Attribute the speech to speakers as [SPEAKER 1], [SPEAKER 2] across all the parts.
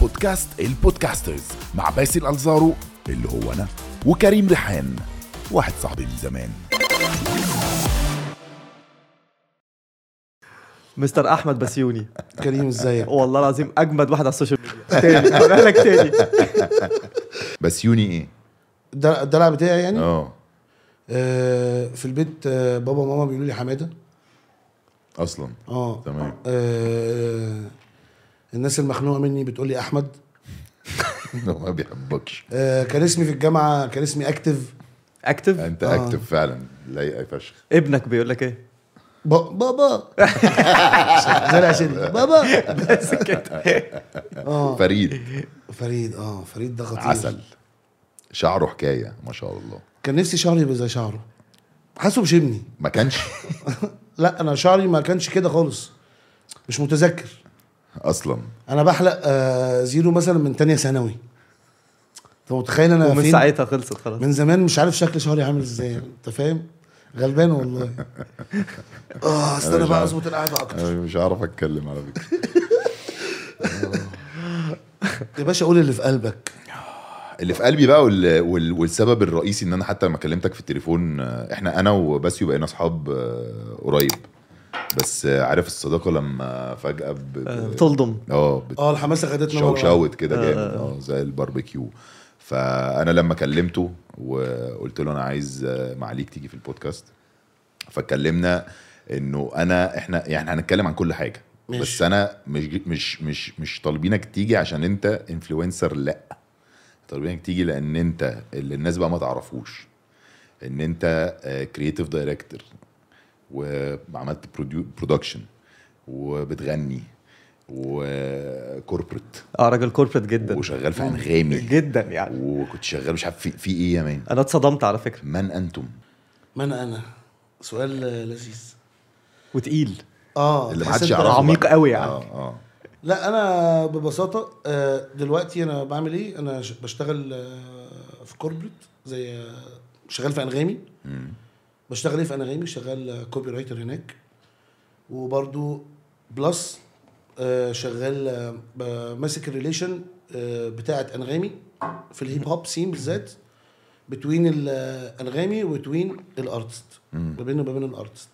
[SPEAKER 1] بودكاست البودكاسترز مع باسل الزارو اللي هو انا وكريم ريحان واحد صاحبي من زمان
[SPEAKER 2] مستر احمد بسيوني
[SPEAKER 3] كريم ازيك
[SPEAKER 2] والله العظيم اجمد واحد على السوشيال ميديا تاني بقول لك تاني
[SPEAKER 1] بس يوني ايه
[SPEAKER 3] ده الدلع بتاعي يعني
[SPEAKER 1] اه
[SPEAKER 3] آه في البيت آه بابا وماما بيقولوا لي حماده
[SPEAKER 1] اصلا
[SPEAKER 3] اه
[SPEAKER 1] تمام
[SPEAKER 3] آه، الناس المخنوقه مني بتقول لي احمد
[SPEAKER 1] هو ما بيحبكش
[SPEAKER 3] آه كان اسمي في الجامعه كان اسمي اكتف
[SPEAKER 2] اكتف
[SPEAKER 1] انت اكتف فعلا لايقه فشخ
[SPEAKER 2] ابنك بيقول لك ايه
[SPEAKER 3] با- بابا زرع شدي بابا
[SPEAKER 2] بس كده
[SPEAKER 3] اه
[SPEAKER 1] فريد
[SPEAKER 3] فريد اه فريد ده خطير
[SPEAKER 1] عسل شعره حكايه ما شاء الله
[SPEAKER 3] كان نفسي شعري يبقى زي شعره حاسه بشبني
[SPEAKER 1] ما كانش
[SPEAKER 3] لا انا شعري ما كانش كده خالص مش متذكر
[SPEAKER 1] اصلا
[SPEAKER 3] انا بحلق آه زيرو مثلا من تانية ثانوي انت متخيل انا
[SPEAKER 2] ومن
[SPEAKER 3] فين
[SPEAKER 2] ساعتها خلصت خلاص
[SPEAKER 3] من زمان مش عارف شكل شعري عامل ازاي انت فاهم غلبان والله اه
[SPEAKER 1] أنا
[SPEAKER 3] استنى
[SPEAKER 1] مش
[SPEAKER 3] بقى
[SPEAKER 1] عارف.
[SPEAKER 3] اظبط القعده اكتر
[SPEAKER 1] أنا مش عارف اتكلم على فكره
[SPEAKER 3] يا باشا قول اللي في قلبك
[SPEAKER 1] اللي في قلبي بقى وال... وال... والسبب الرئيسي ان انا حتى لما كلمتك في التليفون آه، احنا انا وباسيو بقينا اصحاب آه، قريب بس آه، عارف الصداقه لما فجاه ب...
[SPEAKER 2] آه،
[SPEAKER 1] ب...
[SPEAKER 2] بتلضم
[SPEAKER 1] اه بت...
[SPEAKER 3] اه الحماسه خدتنا مرة واحدة.
[SPEAKER 1] شوشوت كده جامد اه زي الباربيكيو فانا لما كلمته وقلت له انا عايز آه، معاليك تيجي في البودكاست فاتكلمنا انه انا احنا يعني هنتكلم عن كل حاجه
[SPEAKER 3] ماشي.
[SPEAKER 1] بس انا مش مش مش مش طالبينك تيجي عشان انت انفلونسر لا طالبينك تيجي لان انت اللي الناس بقى ما تعرفوش ان انت كرييتيف دايركتور وعملت برودكشن وبتغني وكوربريت
[SPEAKER 2] اه راجل كوربريت جدا
[SPEAKER 1] وشغال في انغامي
[SPEAKER 2] جدا يعني
[SPEAKER 1] وكنت شغال مش عارف في, في ايه يا مان
[SPEAKER 2] انا اتصدمت على فكره
[SPEAKER 1] من انتم
[SPEAKER 3] ما انا انا سؤال آه، لذيذ
[SPEAKER 2] وتقيل
[SPEAKER 3] اه
[SPEAKER 1] اللي
[SPEAKER 3] تحس
[SPEAKER 1] محدش
[SPEAKER 3] انت-
[SPEAKER 1] يعرفه بقى.
[SPEAKER 2] عميق قوي يعني.
[SPEAKER 1] اه اه
[SPEAKER 3] لا انا ببساطه آه، دلوقتي انا بعمل ايه انا ش- بشتغل آه، في كوربريت زي آه، شغال في انغامي بشتغل ايه في انغامي شغال آه، كوبي رايتر هناك وبرضو بلس آه، شغال آه، ب- ماسك الريليشن آه، بتاعه انغامي في الهيب هوب سين بالذات بتوين الانغامي وتوين الارتست ما بينه وما بين الارتست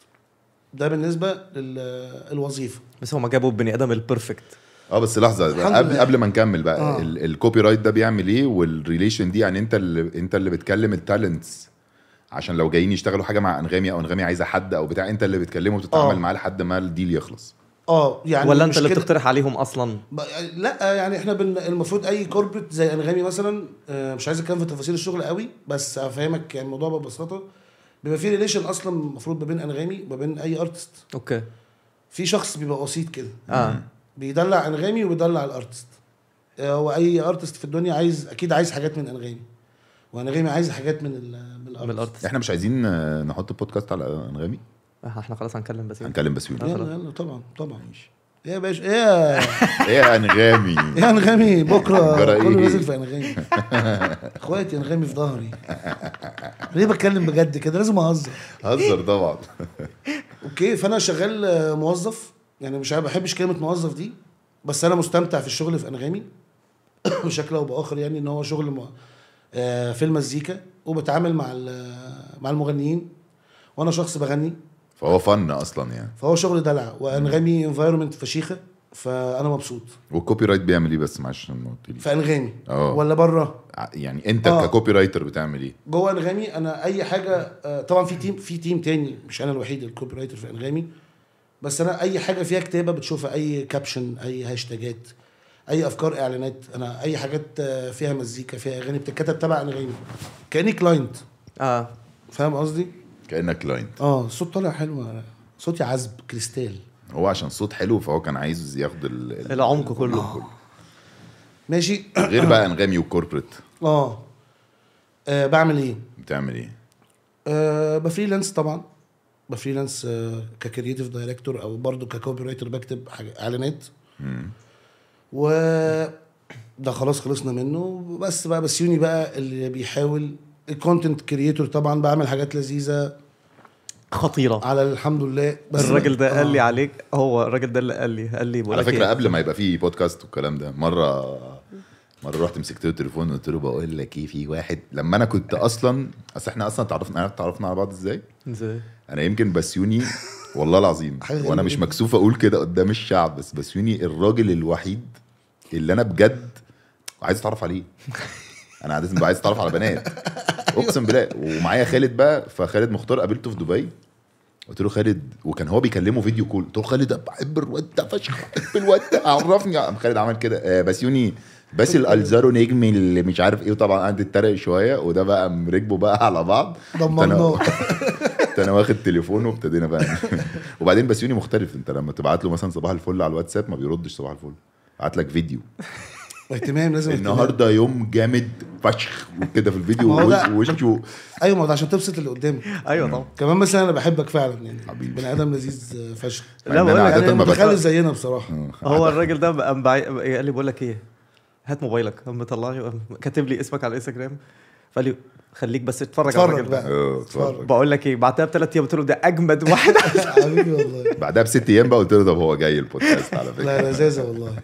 [SPEAKER 3] ده بالنسبه للوظيفه
[SPEAKER 2] بس هما جابوا البني ادم البرفكت
[SPEAKER 1] اه بس لحظه
[SPEAKER 3] الحمد
[SPEAKER 1] قبل
[SPEAKER 3] لله.
[SPEAKER 1] قبل ما نكمل بقى آه.
[SPEAKER 3] آه.
[SPEAKER 1] الكوبي رايت ده بيعمل ايه والريليشن دي يعني انت اللي انت اللي بتكلم التالنتس عشان لو جايين يشتغلوا حاجه مع انغامي او انغامي عايزه حد او بتاع انت اللي بتكلمه وبتتعامل
[SPEAKER 3] آه.
[SPEAKER 1] معاه لحد ما الديل يخلص
[SPEAKER 3] اه يعني
[SPEAKER 2] ولا انت
[SPEAKER 3] مش
[SPEAKER 2] اللي
[SPEAKER 3] كده-
[SPEAKER 2] بتقترح عليهم اصلا
[SPEAKER 3] ب- لا يعني احنا بن... المفروض اي كوربريت زي انغامي مثلا آه، مش عايز اتكلم في تفاصيل الشغل قوي بس افهمك يعني الموضوع ببساطه بيبقى في ريليشن اصلا المفروض ما بين انغامي وما بين اي ارتست
[SPEAKER 2] اوكي
[SPEAKER 3] في شخص بيبقى وسيط كده
[SPEAKER 2] اه
[SPEAKER 3] بيدلع انغامي وبيدلع الارتست آه، هو اي ارتست في الدنيا عايز اكيد عايز حاجات من انغامي وانغامي عايز حاجات من ال...
[SPEAKER 2] من
[SPEAKER 3] من الارتست
[SPEAKER 2] الارتست
[SPEAKER 1] احنا مش عايزين آه، نحط البودكاست على انغامي
[SPEAKER 2] آه، احنا خلاص هنكلم بس
[SPEAKER 1] هنكلم بسيوني
[SPEAKER 3] يلا يلا طبعا طبعا يا باشا ايه
[SPEAKER 1] ايه يا انغامي
[SPEAKER 3] يا انغامي بكره
[SPEAKER 1] جرى
[SPEAKER 3] كله
[SPEAKER 1] إيه؟
[SPEAKER 3] نازل في انغامي اخواتي انغامي في ظهري ليه بتكلم بجد كده لازم اهزر
[SPEAKER 1] هزر طبعا
[SPEAKER 3] اوكي فانا شغال آه، موظف يعني مش عارف- بحبش كلمه موظف دي بس انا مستمتع في الشغل في انغامي بشكل او باخر يعني ان هو شغل م... آه، في المزيكا وبتعامل مع ال- مع المغنيين وانا شخص بغني
[SPEAKER 1] فهو فن اصلا يعني
[SPEAKER 3] فهو شغل دلع وانغامي انفايرمنت فشيخه فانا مبسوط
[SPEAKER 1] والكوبي رايت بيعمل ايه بس معلش ما قلتليش
[SPEAKER 3] في انغامي
[SPEAKER 1] آه.
[SPEAKER 3] ولا بره
[SPEAKER 1] ع- يعني انت
[SPEAKER 3] آه.
[SPEAKER 1] ككوبي رايتر بتعمل ايه
[SPEAKER 3] جوه انغامي انا اي حاجه آه، طبعا في تيم في تيم تاني مش انا الوحيد الكوبي رايتر في انغامي بس انا اي حاجه فيها كتابه بتشوفها اي كابشن اي هاشتاجات اي افكار اعلانات انا اي حاجات آه، فيها مزيكا فيها اغاني بتتكتب تبع انغامي كاني كلاينت
[SPEAKER 2] اه
[SPEAKER 3] فاهم قصدي؟
[SPEAKER 1] كانك كلاينت
[SPEAKER 3] اه الصوت طالع حلو أنا- صوتي عذب كريستال
[SPEAKER 1] هو عشان صوت حلو فهو كان عايز ياخد ال- ال-
[SPEAKER 2] العمق كله.
[SPEAKER 3] ماشي
[SPEAKER 1] غير بقى انغامي وكوربريت
[SPEAKER 3] اه آه، بعمل ايه؟
[SPEAKER 1] بتعمل ايه
[SPEAKER 3] أه بفريلانس طبعا بفريلانس أه ككرييتيف دايركتور او برضو ككوبي رايتر بكتب حاجة- اعلانات و ده خلاص خلصنا منه بس بقى بس يوني بقى اللي بيحاول الكونتنت كرييتور طبعا بعمل حاجات لذيذه
[SPEAKER 2] خطيره
[SPEAKER 3] على الحمد لله بس
[SPEAKER 2] الراجل ده قال لي
[SPEAKER 3] آه.
[SPEAKER 2] عليك هو الراجل ده اللي قال لي قال لي بقول
[SPEAKER 1] على
[SPEAKER 2] لك
[SPEAKER 1] فكره
[SPEAKER 2] إيه؟
[SPEAKER 1] قبل ما يبقى فيه بودكاست والكلام ده مره مره رحت مسكت له التليفون قلت له بقول لك ايه في واحد لما انا كنت اصلا اصل احنا اصلا تعرفنا عارف تعرفنا على بعض ازاي
[SPEAKER 2] ازاي
[SPEAKER 1] انا يمكن بسيوني والله العظيم
[SPEAKER 3] حاجة غريبة
[SPEAKER 1] وانا مش
[SPEAKER 3] جدا.
[SPEAKER 1] مكسوف اقول كده قدام الشعب بس بسيوني الراجل الوحيد اللي انا بجد عايز اتعرف عليه انا عاده ببقى عايز اتعرف على بنات اقسم بالله ومعايا خالد بقى فخالد مختار قابلته في دبي قلت له خالد وكان هو بيكلمه فيديو كول قلت له خالد أنا بحب الواد ده فشخ بحب الواد ده عرفني قام خالد عمل كده آه، بسيوني باسل الزارو نجم اللي مش عارف ايه وطبعا قعد يتريق شويه وده بقى قام ركبوا بقى على بعض
[SPEAKER 3] آه، دمرناه
[SPEAKER 1] كنت انا واخد تليفونه وابتدينا بقى وبعدين بسيوني مختلف انت لما تبعت له مثلا صباح الفل على الواتساب ما بيردش صباح الفل بعت لك فيديو
[SPEAKER 3] اهتمام لازم اهتمام.
[SPEAKER 1] النهارده يوم جامد فشخ وكده في
[SPEAKER 3] ما
[SPEAKER 1] الفيديو
[SPEAKER 3] هو ده-
[SPEAKER 1] وش- وشه
[SPEAKER 3] ايوه ما هو ده عشان تبسط اللي قدامك
[SPEAKER 2] ايوه طبعا
[SPEAKER 3] كمان مثلا انا بحبك فعلا يعني
[SPEAKER 1] حبيبي.
[SPEAKER 3] بني ادم لذيذ آه، فشخ
[SPEAKER 1] مع
[SPEAKER 2] لا،
[SPEAKER 1] إن
[SPEAKER 2] بقول
[SPEAKER 1] أنا
[SPEAKER 2] لك
[SPEAKER 1] عادة
[SPEAKER 3] يعني
[SPEAKER 1] ما بت-
[SPEAKER 3] متخلف زينا بصراحه
[SPEAKER 1] آه،
[SPEAKER 2] هو الراجل ده قام بعي- قال لي بقول لك ايه هات موبايلك قام مطلع لي وقام كاتب لي اسمك على الانستجرام فقال لي خليك بس اتفرج على
[SPEAKER 3] اتفرج
[SPEAKER 2] الراجل ده
[SPEAKER 1] آه،
[SPEAKER 3] بقى
[SPEAKER 1] اتفرج.
[SPEAKER 2] بقول لك ايه بعتها بثلاث ايام قلت له ده اجمد واحد
[SPEAKER 3] حبيبي والله
[SPEAKER 1] بعدها بست ايام بقى قلت له طب هو جاي البودكاست على فكره
[SPEAKER 3] لا لذاذه والله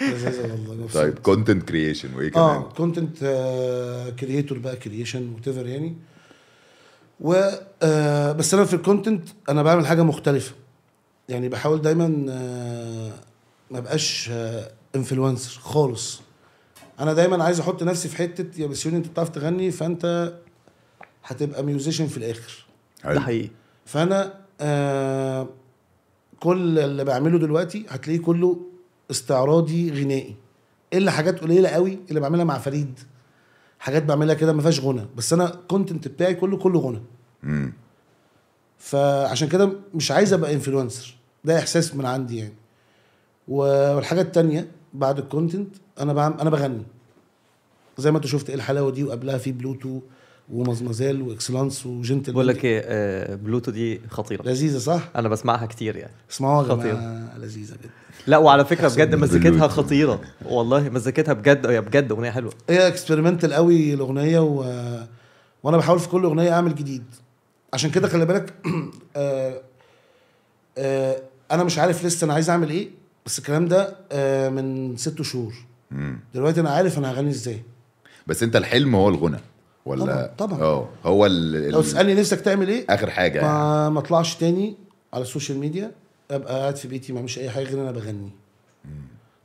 [SPEAKER 3] لذاذه والله مبسوط.
[SPEAKER 1] طيب كونتنت كريشن وايه كمان
[SPEAKER 3] اه كونتنت كرييتور آه، بقى كرييشن وات ايفر يعني و آه، بس انا في الكونتنت انا بعمل حاجه مختلفه يعني بحاول دايما آه، ما بقاش انفلونسر خالص انا دايما عايز احط نفسي في حته يا بسيوني انت بتعرف تغني فانت هتبقى ميوزيشن في الاخر
[SPEAKER 2] ده حقيقي
[SPEAKER 3] فانا آه كل اللي بعمله دلوقتي هتلاقيه كله استعراضي غنائي الا حاجات قليله قوي اللي بعملها مع فريد حاجات بعملها كده ما فيهاش غنى بس انا الكونتنت بتاعي كله كله غنى
[SPEAKER 1] مم.
[SPEAKER 3] فعشان كده مش عايز ابقى انفلونسر ده احساس من عندي يعني و- والحاجه التانية بعد الكونتنت انا بعم انا بغني زي ما انت شفت ايه الحلاوه دي وقبلها في بلوتو ومزمزال واكسلانس وجنتل
[SPEAKER 2] بقول لك ايه آه، بلوتو دي خطيره
[SPEAKER 3] لذيذه صح؟
[SPEAKER 2] انا بسمعها كتير يعني
[SPEAKER 3] اسمعوها يا
[SPEAKER 2] خطيرة.
[SPEAKER 3] جماعه لذيذه جدا
[SPEAKER 2] لا وعلى فكره بجد
[SPEAKER 1] من
[SPEAKER 2] مزيكتها
[SPEAKER 1] بلوتو.
[SPEAKER 2] خطيره والله مزيكتها بجد هي بجد اغنيه حلوه
[SPEAKER 3] هي اكسبيرمنتال قوي الاغنيه و... وانا بحاول في كل اغنيه اعمل جديد عشان كده خلي بالك آه، آه، انا مش عارف لسه انا عايز اعمل ايه بس الكلام ده آه، من ست شهور
[SPEAKER 1] مم.
[SPEAKER 3] دلوقتي انا عارف انا هغني ازاي
[SPEAKER 1] بس انت الحلم هو الغنى ولا
[SPEAKER 3] طبعاً، طبعاً.
[SPEAKER 1] اه هو ال...
[SPEAKER 3] لو
[SPEAKER 1] ال...
[SPEAKER 3] تسالني نفسك تعمل ايه
[SPEAKER 1] اخر حاجه يعني.
[SPEAKER 3] ما ما اطلعش تاني على السوشيال ميديا ابقى قاعد في بيتي ما اعملش اي حاجه غير انا بغني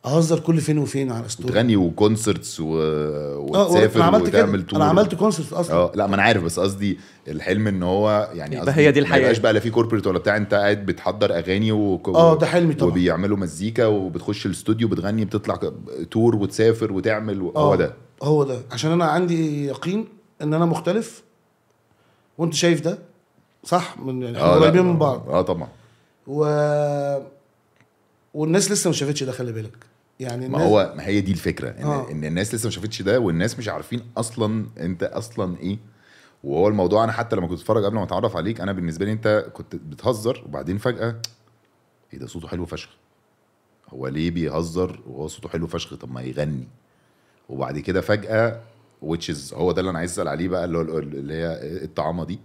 [SPEAKER 3] اهزر كل فين وفين على ستوري
[SPEAKER 1] وتغني وكونسرتس و...
[SPEAKER 3] آه،
[SPEAKER 1] وتسافر
[SPEAKER 3] انا عملت كده
[SPEAKER 1] وتعمل
[SPEAKER 3] انا عملت كونسرت اصلا
[SPEAKER 1] اه لا ما انا عارف بس قصدي الحلم ان هو يعني
[SPEAKER 2] يبقى
[SPEAKER 1] قصدي
[SPEAKER 2] هي دي الحياة.
[SPEAKER 1] ما يبقاش بقى لا في كوربريت ولا بتاع انت قاعد بتحضر اغاني و...
[SPEAKER 3] آه، ده حلمي طبعاً.
[SPEAKER 1] وبيعملوا مزيكا وبتخش الاستوديو بتغني بتطلع ك- تور وتسافر وتعمل و... هو
[SPEAKER 3] آه،
[SPEAKER 1] ده
[SPEAKER 3] هو ده عشان انا عندي يقين ان انا مختلف وانت شايف ده صح من يعني احنا
[SPEAKER 1] لا،
[SPEAKER 3] قريبين من بعض
[SPEAKER 1] اه طبعا
[SPEAKER 3] و والناس لسه ما شافتش ده خلي بالك يعني
[SPEAKER 1] ما
[SPEAKER 3] الناس-
[SPEAKER 1] هو ما هي دي الفكره ان,
[SPEAKER 3] آه.
[SPEAKER 1] إن الناس لسه ما شافتش ده والناس مش عارفين اصلا انت اصلا ايه وهو الموضوع انا حتى لما كنت اتفرج قبل ما اتعرف عليك انا بالنسبه لي انت كنت بتهزر وبعدين فجاه ايه ده صوته حلو فشخ هو ليه بيهزر وهو صوته حلو فشخ طب ما يغني وبعد كده فجاه وتشز هو ده اللي انا عايز اسال عليه بقى اللي هو اللي هي الطعامه دي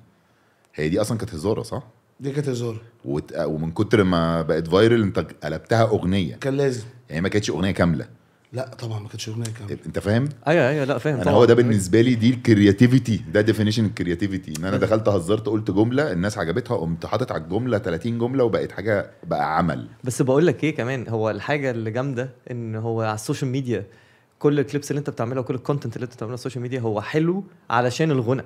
[SPEAKER 1] هي دي اصلا كانت هزاره صح؟
[SPEAKER 3] دي كانت هزار
[SPEAKER 1] وت- ومن كتر ما بقت فايرل انت قلبتها اغنيه
[SPEAKER 3] كان لازم
[SPEAKER 1] يعني ما كانتش اغنيه كامله
[SPEAKER 3] لا طبعا ما كانتش اغنيه كامله
[SPEAKER 1] انت فاهم؟
[SPEAKER 2] ايوه ايوه لا فاهم
[SPEAKER 1] انا يعني هو ده بالنسبه لي دي الكرياتيفيتي ده ديفينيشن الكرياتيفيتي ان انا
[SPEAKER 3] أيوة.
[SPEAKER 1] دخلت هزرت قلت جمله الناس عجبتها قمت حاطط على الجمله 30 جمله وبقت حاجه بقى عمل
[SPEAKER 2] بس بقول لك ايه كمان هو الحاجه اللي جامده ان هو على السوشيال ميديا كل الكليبس اللي انت بتعملها وكل الكونتنت اللي انت بتعمله على السوشيال ميديا هو حلو علشان الغنى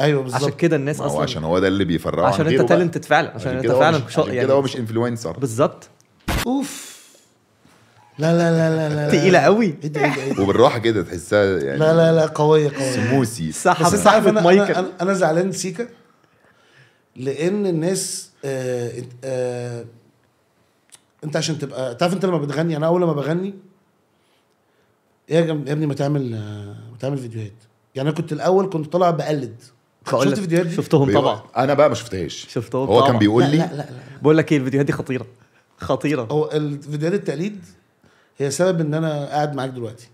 [SPEAKER 3] ايوه
[SPEAKER 2] عشان
[SPEAKER 3] بالظبط
[SPEAKER 2] كده الناس
[SPEAKER 1] ما هو
[SPEAKER 2] اصلا
[SPEAKER 1] عشان هو ده اللي بيفرقه عن
[SPEAKER 2] عشان انت
[SPEAKER 1] غيره بقى.
[SPEAKER 2] تالنتد فعلا عشان, انت
[SPEAKER 1] كده هو
[SPEAKER 2] فعلا
[SPEAKER 1] مش-
[SPEAKER 2] شاطر
[SPEAKER 1] عشان
[SPEAKER 3] يعني.
[SPEAKER 1] كده هو مش انفلونسر
[SPEAKER 2] بالظبط
[SPEAKER 3] اوف لا لا لا لا
[SPEAKER 1] آه.
[SPEAKER 3] لا
[SPEAKER 2] تقيله قوي
[SPEAKER 3] ايه ده ايه ده إيه ده؟
[SPEAKER 1] وبالراحه كده تحسها يعني
[SPEAKER 3] لا لا لا قويه قويه
[SPEAKER 1] موسي
[SPEAKER 2] سحب
[SPEAKER 3] بس انت عارف
[SPEAKER 2] سحبت
[SPEAKER 3] انا
[SPEAKER 2] مايكل
[SPEAKER 3] انا انا زعلان سيكا لان الناس آه آه انت عشان تبقى تعرف انت لما بتغني انا اول ما بغني يا جم... يا ابني ما تعمل آه، ما تعمل فيديوهات يعني انا كنت الاول كنت طالع بقلد
[SPEAKER 2] بقول
[SPEAKER 3] شفت
[SPEAKER 2] لك
[SPEAKER 3] فيديوهات دي؟
[SPEAKER 2] شفتهم طبعا
[SPEAKER 1] انا بقى ما شفتهاش
[SPEAKER 2] شفتهم
[SPEAKER 1] أيوة. هو
[SPEAKER 2] طبعا.
[SPEAKER 1] كان بيقول
[SPEAKER 3] لا,
[SPEAKER 1] لي
[SPEAKER 3] لا لا لا
[SPEAKER 2] بقول لك ايه الفيديوهات دي خطيره خطيره
[SPEAKER 3] هو الفيديوهات التقليد هي سبب ان انا قاعد معاك دلوقتي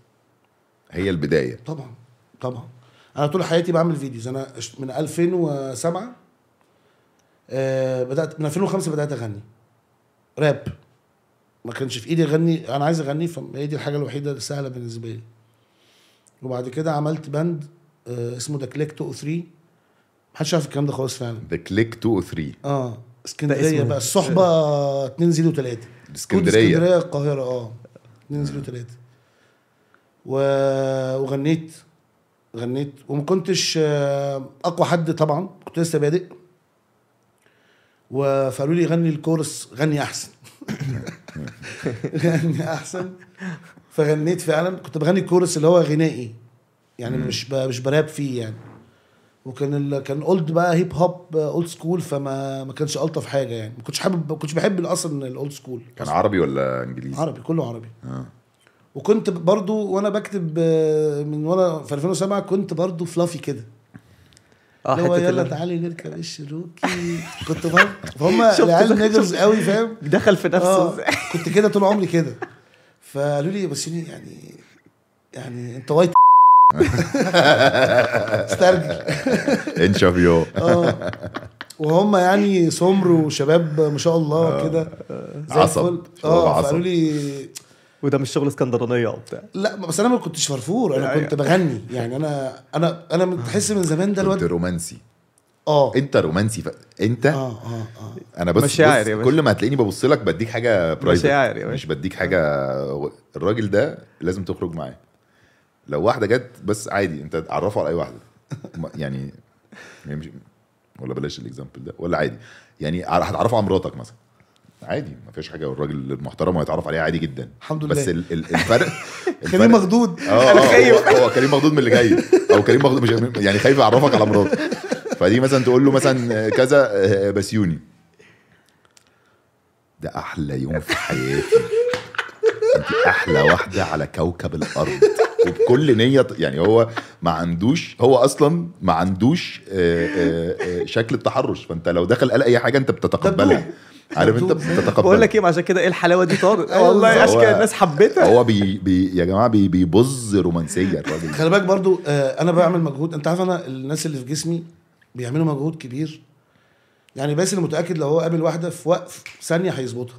[SPEAKER 1] هي البدايه
[SPEAKER 3] طبعا طبعا انا طول حياتي بعمل فيديوز انا اش- من 2007 آه بدات من 2005 بدات اغني راب ما كانش في ايدي اغني انا عايز اغني فهي دي الحاجه الوحيده السهله بالنسبه لي وبعد كده عملت باند آه، اسمه ذا كليك 203 محدش عارف الكلام ده خالص فعلا
[SPEAKER 1] ذا كليك 2 3
[SPEAKER 3] اه
[SPEAKER 2] ده
[SPEAKER 3] اسكندريه
[SPEAKER 2] اسمه-
[SPEAKER 3] بقى الصحبه 2 0 3
[SPEAKER 1] اسكندريه
[SPEAKER 3] اسكندريه القاهره اه 2 0 3 و... وغنيت غنيت وما كنتش آه، اقوى حد طبعا كنت لسه بادئ و- فقالوا لي غني الكورس غني احسن غني احسن فغنيت فعلا كنت بغني الكورس اللي هو غنائي يعني مش ب... مش براب فيه يعني وكان ال... كان اولد بقى هيب هوب اولد سكول فما ما كانش الطف حاجه يعني ما كنتش حابب ما كنتش بحب اصلا الاولد سكول
[SPEAKER 1] كان عربي ولا انجليزي؟
[SPEAKER 3] عربي كله عربي
[SPEAKER 1] اه
[SPEAKER 3] وكنت برضو وانا بكتب آه، من وانا في 2007 كنت برضو فلافي كده
[SPEAKER 2] اه
[SPEAKER 3] اللي هو
[SPEAKER 2] حته
[SPEAKER 3] يلا
[SPEAKER 2] ال-
[SPEAKER 3] تعالي نركب الشروكي كنت برضو فهم
[SPEAKER 2] شفت
[SPEAKER 3] العيال
[SPEAKER 2] بقى،
[SPEAKER 3] نيجرز قوي فاهم
[SPEAKER 2] دخل في
[SPEAKER 1] آه.
[SPEAKER 2] نفسه
[SPEAKER 3] اه
[SPEAKER 2] ازاي
[SPEAKER 3] كنت كده طول عمري كده فقالوا لي بس يعني يعني انت وايت استرجل
[SPEAKER 1] انشافيو
[SPEAKER 3] اه وهم يعني سمر وشباب ما شاء الله كده زي
[SPEAKER 1] آه. عصب.
[SPEAKER 3] الفل.
[SPEAKER 1] شباب
[SPEAKER 3] اه
[SPEAKER 1] عصب.
[SPEAKER 3] فقالوا لي
[SPEAKER 2] وده مش شغل اسكندرانيه وبتاع
[SPEAKER 3] لا بس انا ما كنتش فرفور انا
[SPEAKER 2] أيوة.
[SPEAKER 3] كنت بغني يعني انا انا انا من- تحس من زمان ده
[SPEAKER 1] كنت إيه
[SPEAKER 3] الواد
[SPEAKER 1] رومانسي
[SPEAKER 3] اه
[SPEAKER 1] انت رومانسي ف... انت
[SPEAKER 3] اه اه اه
[SPEAKER 1] انا بس
[SPEAKER 2] مشاعر
[SPEAKER 1] بص
[SPEAKER 2] يا باشا.
[SPEAKER 1] كل ما هتلاقيني ببص لك بديك حاجه برايفت
[SPEAKER 2] مشاعر يا باشا.
[SPEAKER 1] مش بديك حاجه الراجل ده لازم تخرج معاه لو واحده جت بس عادي انت تعرفه على اي واحده ما- يعني يعني مش ولا بلاش الاكزامبل ده ولا عادي يعني ع- هتعرفه على مراتك مثلا عادي ما فيش حاجه الراجل المحترم هيتعرف عليها عادي جدا
[SPEAKER 3] الحمد لله.
[SPEAKER 1] بس ال- ال- الفرق
[SPEAKER 3] كريم
[SPEAKER 1] الفرق
[SPEAKER 3] مخدود
[SPEAKER 1] اه
[SPEAKER 2] الخايف.
[SPEAKER 1] هو- هو كريم مخدوم من اللي جاي او كريم مخدوم مش يعني خايف يعرفك على مراته فدي مثلا تقول له مثلا كذا آه، بسيوني ده احلى يوم في حياتي انت احلى واحده على كوكب الارض وبكل نيه يعني هو ما عندوش هو اصلا ما عندوش آه، آه، آه، شكل التحرش فانت لو دخل قال اي حاجه انت بتتقبلها عارف انت
[SPEAKER 2] بقول
[SPEAKER 1] بتتقبلها
[SPEAKER 2] لك إيه؟ ايه ما عشان كده ايه الحلاوه دي طارق
[SPEAKER 3] أيوة
[SPEAKER 2] والله
[SPEAKER 1] بالظبط.
[SPEAKER 2] عشان كده
[SPEAKER 1] هو-
[SPEAKER 2] الناس حبتها
[SPEAKER 1] هو بي, بي يا جماعه بي بيبظ رومانسيه الراجل ده.
[SPEAKER 3] خلي بالك برضو آه انا بعمل مجهود انت عارف انا الناس اللي في جسمي بيعملوا مجهود كبير يعني باسل متاكد لو هو قابل واحده في وقف ثانيه هيظبطها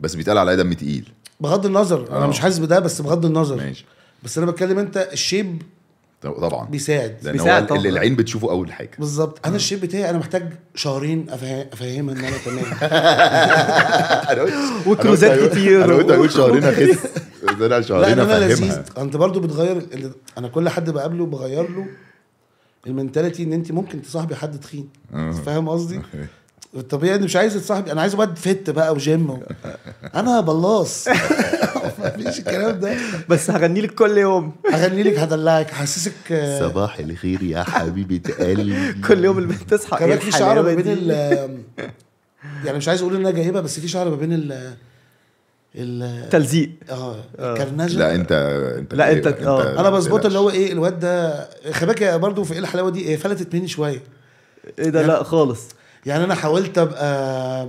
[SPEAKER 1] بس بيتقال عليا دم تقيل
[SPEAKER 3] بغض النظر انا
[SPEAKER 1] آه.
[SPEAKER 3] مش حاسس بده بس بغض النظر
[SPEAKER 1] ماشي
[SPEAKER 3] بس انا بتكلم انت الشيب
[SPEAKER 1] طب- طبعا
[SPEAKER 3] بيساعد
[SPEAKER 1] لان
[SPEAKER 2] بيساعد
[SPEAKER 1] هو
[SPEAKER 2] طبعا.
[SPEAKER 1] اللي العين بتشوفه اول حاجه
[SPEAKER 3] بالظبط
[SPEAKER 1] آه.
[SPEAKER 3] انا الشيب بتاعي انا محتاج شهرين أفه- افهمها ان انا تمام
[SPEAKER 1] أنا قلت-
[SPEAKER 2] وكروزات
[SPEAKER 1] أنا قلت-
[SPEAKER 2] كتير.
[SPEAKER 1] انا قلت هقول شهرين اخس بس انا
[SPEAKER 3] لا
[SPEAKER 1] شهرين
[SPEAKER 3] إن انا
[SPEAKER 1] افهمها
[SPEAKER 3] لذيذ انت برضو بتغير ال- انا كل حد بقابله بغير له المنتاليتي ان انت ممكن تصاحبي حد تخين
[SPEAKER 1] آه.
[SPEAKER 3] فاهم قصدي الطبيعي اني مش عايز تصاحبي انا عايز واد فت بقى وجيم و... انا بلاص مفيش الكلام ده
[SPEAKER 2] بس هغني لك كل يوم
[SPEAKER 3] اغني لك هدلعك آه، حسسك
[SPEAKER 1] صباح الخير يا حبيبه قلبي
[SPEAKER 2] كل يوم البنت تصحى إيه،
[SPEAKER 3] كمان في شعر ما بين ال
[SPEAKER 2] ال...
[SPEAKER 3] يعني مش عايز اقول انها جايبه بس في شعر ما بين ال ال
[SPEAKER 2] تلزيق
[SPEAKER 3] اه
[SPEAKER 2] آه.
[SPEAKER 3] الكرنجه
[SPEAKER 1] لا انت انت
[SPEAKER 2] لا، أنت- آه.
[SPEAKER 3] انا بظبط اللي هو ايه الواد ده خباك برضه في ايه الحلاوه دي إيه فلتت مني شويه
[SPEAKER 2] ايه ده لا خالص
[SPEAKER 3] يعني انا حاولت ابقى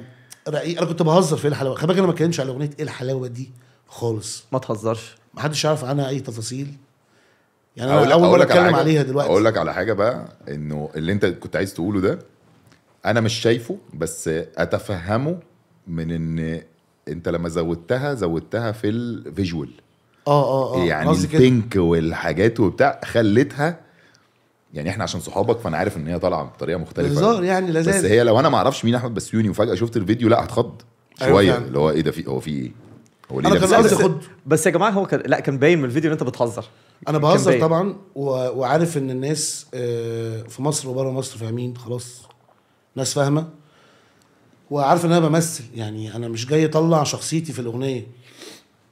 [SPEAKER 3] رقيق انا كنت بهزر في ايه الحلاوه خباك انا ما اتكلمش على اغنيه ايه الحلاوه دي خالص
[SPEAKER 2] ما تهزرش
[SPEAKER 3] ما حدش يعرف عنها اي تفاصيل يعني
[SPEAKER 1] اقول لك
[SPEAKER 3] انا اول
[SPEAKER 1] اقول
[SPEAKER 3] مره
[SPEAKER 1] لك على
[SPEAKER 3] اتكلم
[SPEAKER 1] حاجة-
[SPEAKER 3] عليها دلوقتي
[SPEAKER 1] اقول لك على حاجه بقى انه اللي انت كنت عايز تقوله ده انا مش شايفه بس اتفهمه من ان انت لما زودتها زودتها في الفيجوال
[SPEAKER 3] اه اه اه
[SPEAKER 1] يعني
[SPEAKER 3] قصدي كده.
[SPEAKER 1] البينك والحاجات وبتاع خلتها يعني احنا عشان صحابك فانا عارف ان هي طالعه بطريقه مختلفه
[SPEAKER 3] هزار يعني
[SPEAKER 1] بس
[SPEAKER 3] لذاذ
[SPEAKER 1] هي لو انا ما اعرفش مين احمد بسيوني وفجاه شفت الفيديو لا هتخض
[SPEAKER 3] أيوة
[SPEAKER 1] شويه
[SPEAKER 3] فعلا.
[SPEAKER 1] اللي هو ايه ده في هو في ايه؟ هو ليه
[SPEAKER 3] انا
[SPEAKER 1] لابس
[SPEAKER 3] كان قصدي
[SPEAKER 1] كده؟
[SPEAKER 3] خد
[SPEAKER 2] بس يا جماعه هو كان لا كان باين من الفيديو ان انت بتهزر
[SPEAKER 3] انا
[SPEAKER 2] كان
[SPEAKER 3] بهزر
[SPEAKER 2] باين.
[SPEAKER 3] طبعا و... وعارف ان الناس آه، في مصر وبره مصر فاهمين خلاص ناس فاهمه وعارف ان انا بمثل يعني انا مش جاي اطلع شخصيتي في الاغنيه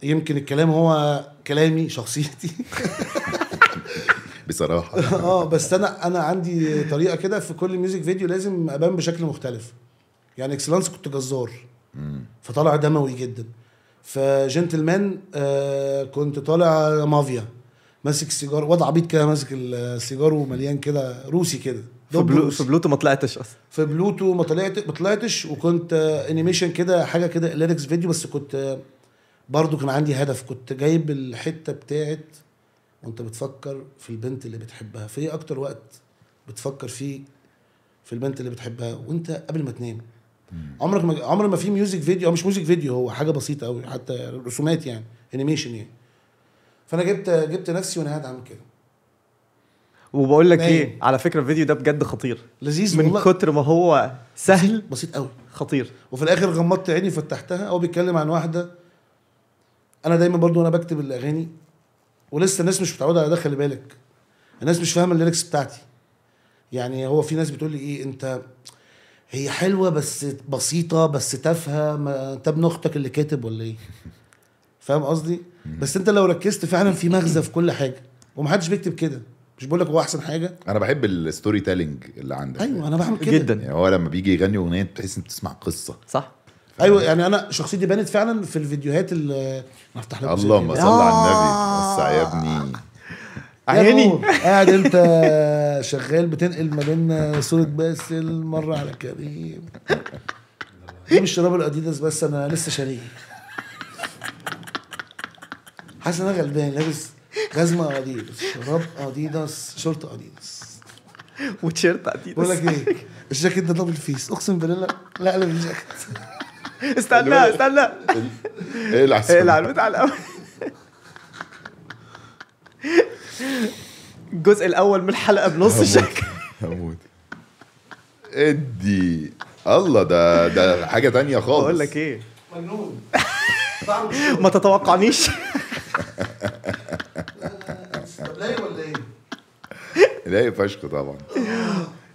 [SPEAKER 3] يمكن الكلام هو كلامي شخصيتي
[SPEAKER 1] بصراحه
[SPEAKER 3] اه بس انا انا عندي طريقه كده في كل ميوزك فيديو لازم ابان بشكل مختلف يعني اكسلانس كنت جزار فطالع دموي جدا فجنتلمان آه كنت طالع مافيا ماسك سيجار وضع عبيط كده ماسك السيجار ومليان كده روسي كده
[SPEAKER 2] في,
[SPEAKER 3] دب
[SPEAKER 2] بلو...
[SPEAKER 3] روسي.
[SPEAKER 2] في بلوتو ما طلعتش اصلا
[SPEAKER 3] في بلوتو ما طلعت ما طلعتش وكنت آه، انيميشن كده حاجه كده ليركس فيديو بس كنت آه، برضو كان عندي هدف كنت جايب الحته بتاعت وانت بتفكر في البنت اللي بتحبها في إيه اكتر وقت بتفكر فيه في البنت اللي بتحبها وانت قبل ما تنام عمرك ما عمر ما في ميوزك فيديو او مش ميوزك فيديو هو حاجه بسيطه قوي حتى رسومات يعني انيميشن يعني فانا جبت جبت نفسي وانا قاعد عامل كده
[SPEAKER 2] وبقول لك
[SPEAKER 3] نايم.
[SPEAKER 2] ايه على فكره الفيديو ده بجد خطير
[SPEAKER 3] لذيذ
[SPEAKER 2] من
[SPEAKER 3] والله
[SPEAKER 2] كتر ما هو سهل
[SPEAKER 3] بسيط قوي
[SPEAKER 2] خطير
[SPEAKER 3] وفي الاخر غمضت عيني فتحتها هو بيتكلم عن واحده انا دايما برضو وانا بكتب الاغاني ولسه الناس مش متعوده على ده خلي بالك الناس مش فاهمه الليركس بتاعتي يعني هو في ناس بتقول لي ايه انت هي حلوه بس بسيطه بس تافهه ما انت ابن اختك اللي كاتب ولا ايه فاهم قصدي بس انت لو ركزت فعلا في مغزى في كل حاجه ومحدش بيكتب كده مش بقول لك هو احسن حاجه
[SPEAKER 1] انا بحب الستوري تيلينج اللي عندك
[SPEAKER 3] ايوه انا بعمل كده
[SPEAKER 2] جدا
[SPEAKER 1] يعني هو لما بيجي يغني اغنيه بتحس انك بتسمع قصه
[SPEAKER 2] صح
[SPEAKER 3] ايوه يعني انا شخصيتي بانت فعلا في الفيديوهات اللي افتح لك
[SPEAKER 1] اللهم صل على النبي
[SPEAKER 3] آه.
[SPEAKER 1] بس يا ابني
[SPEAKER 3] عيني قاعد انت شغال بتنقل ما بين صوره باسل مره على كريم دي مش شراب الاديداس بس انا لسه شاريه حاسس ان انا غلبان لابس جزمه اديداس شراب اديداس شورت اديداس
[SPEAKER 2] وتيشيرت
[SPEAKER 3] بقول
[SPEAKER 2] اديداس
[SPEAKER 3] لك ايه الجاكيت ده دبل فيس اقسم بالله لا لا الجاكيت
[SPEAKER 2] استنى استنى
[SPEAKER 1] ايه
[SPEAKER 3] إيه
[SPEAKER 1] العسل
[SPEAKER 2] اقلع البتاع الاول الجزء الاول من الحلقه بنص الشكل
[SPEAKER 1] هموت ادي الله ده ده حاجه تانية خالص
[SPEAKER 2] بقول لك ايه
[SPEAKER 3] مجنون
[SPEAKER 2] ما تتوقعنيش
[SPEAKER 3] لايق ولا ايه؟
[SPEAKER 1] لايق فشخ طبعا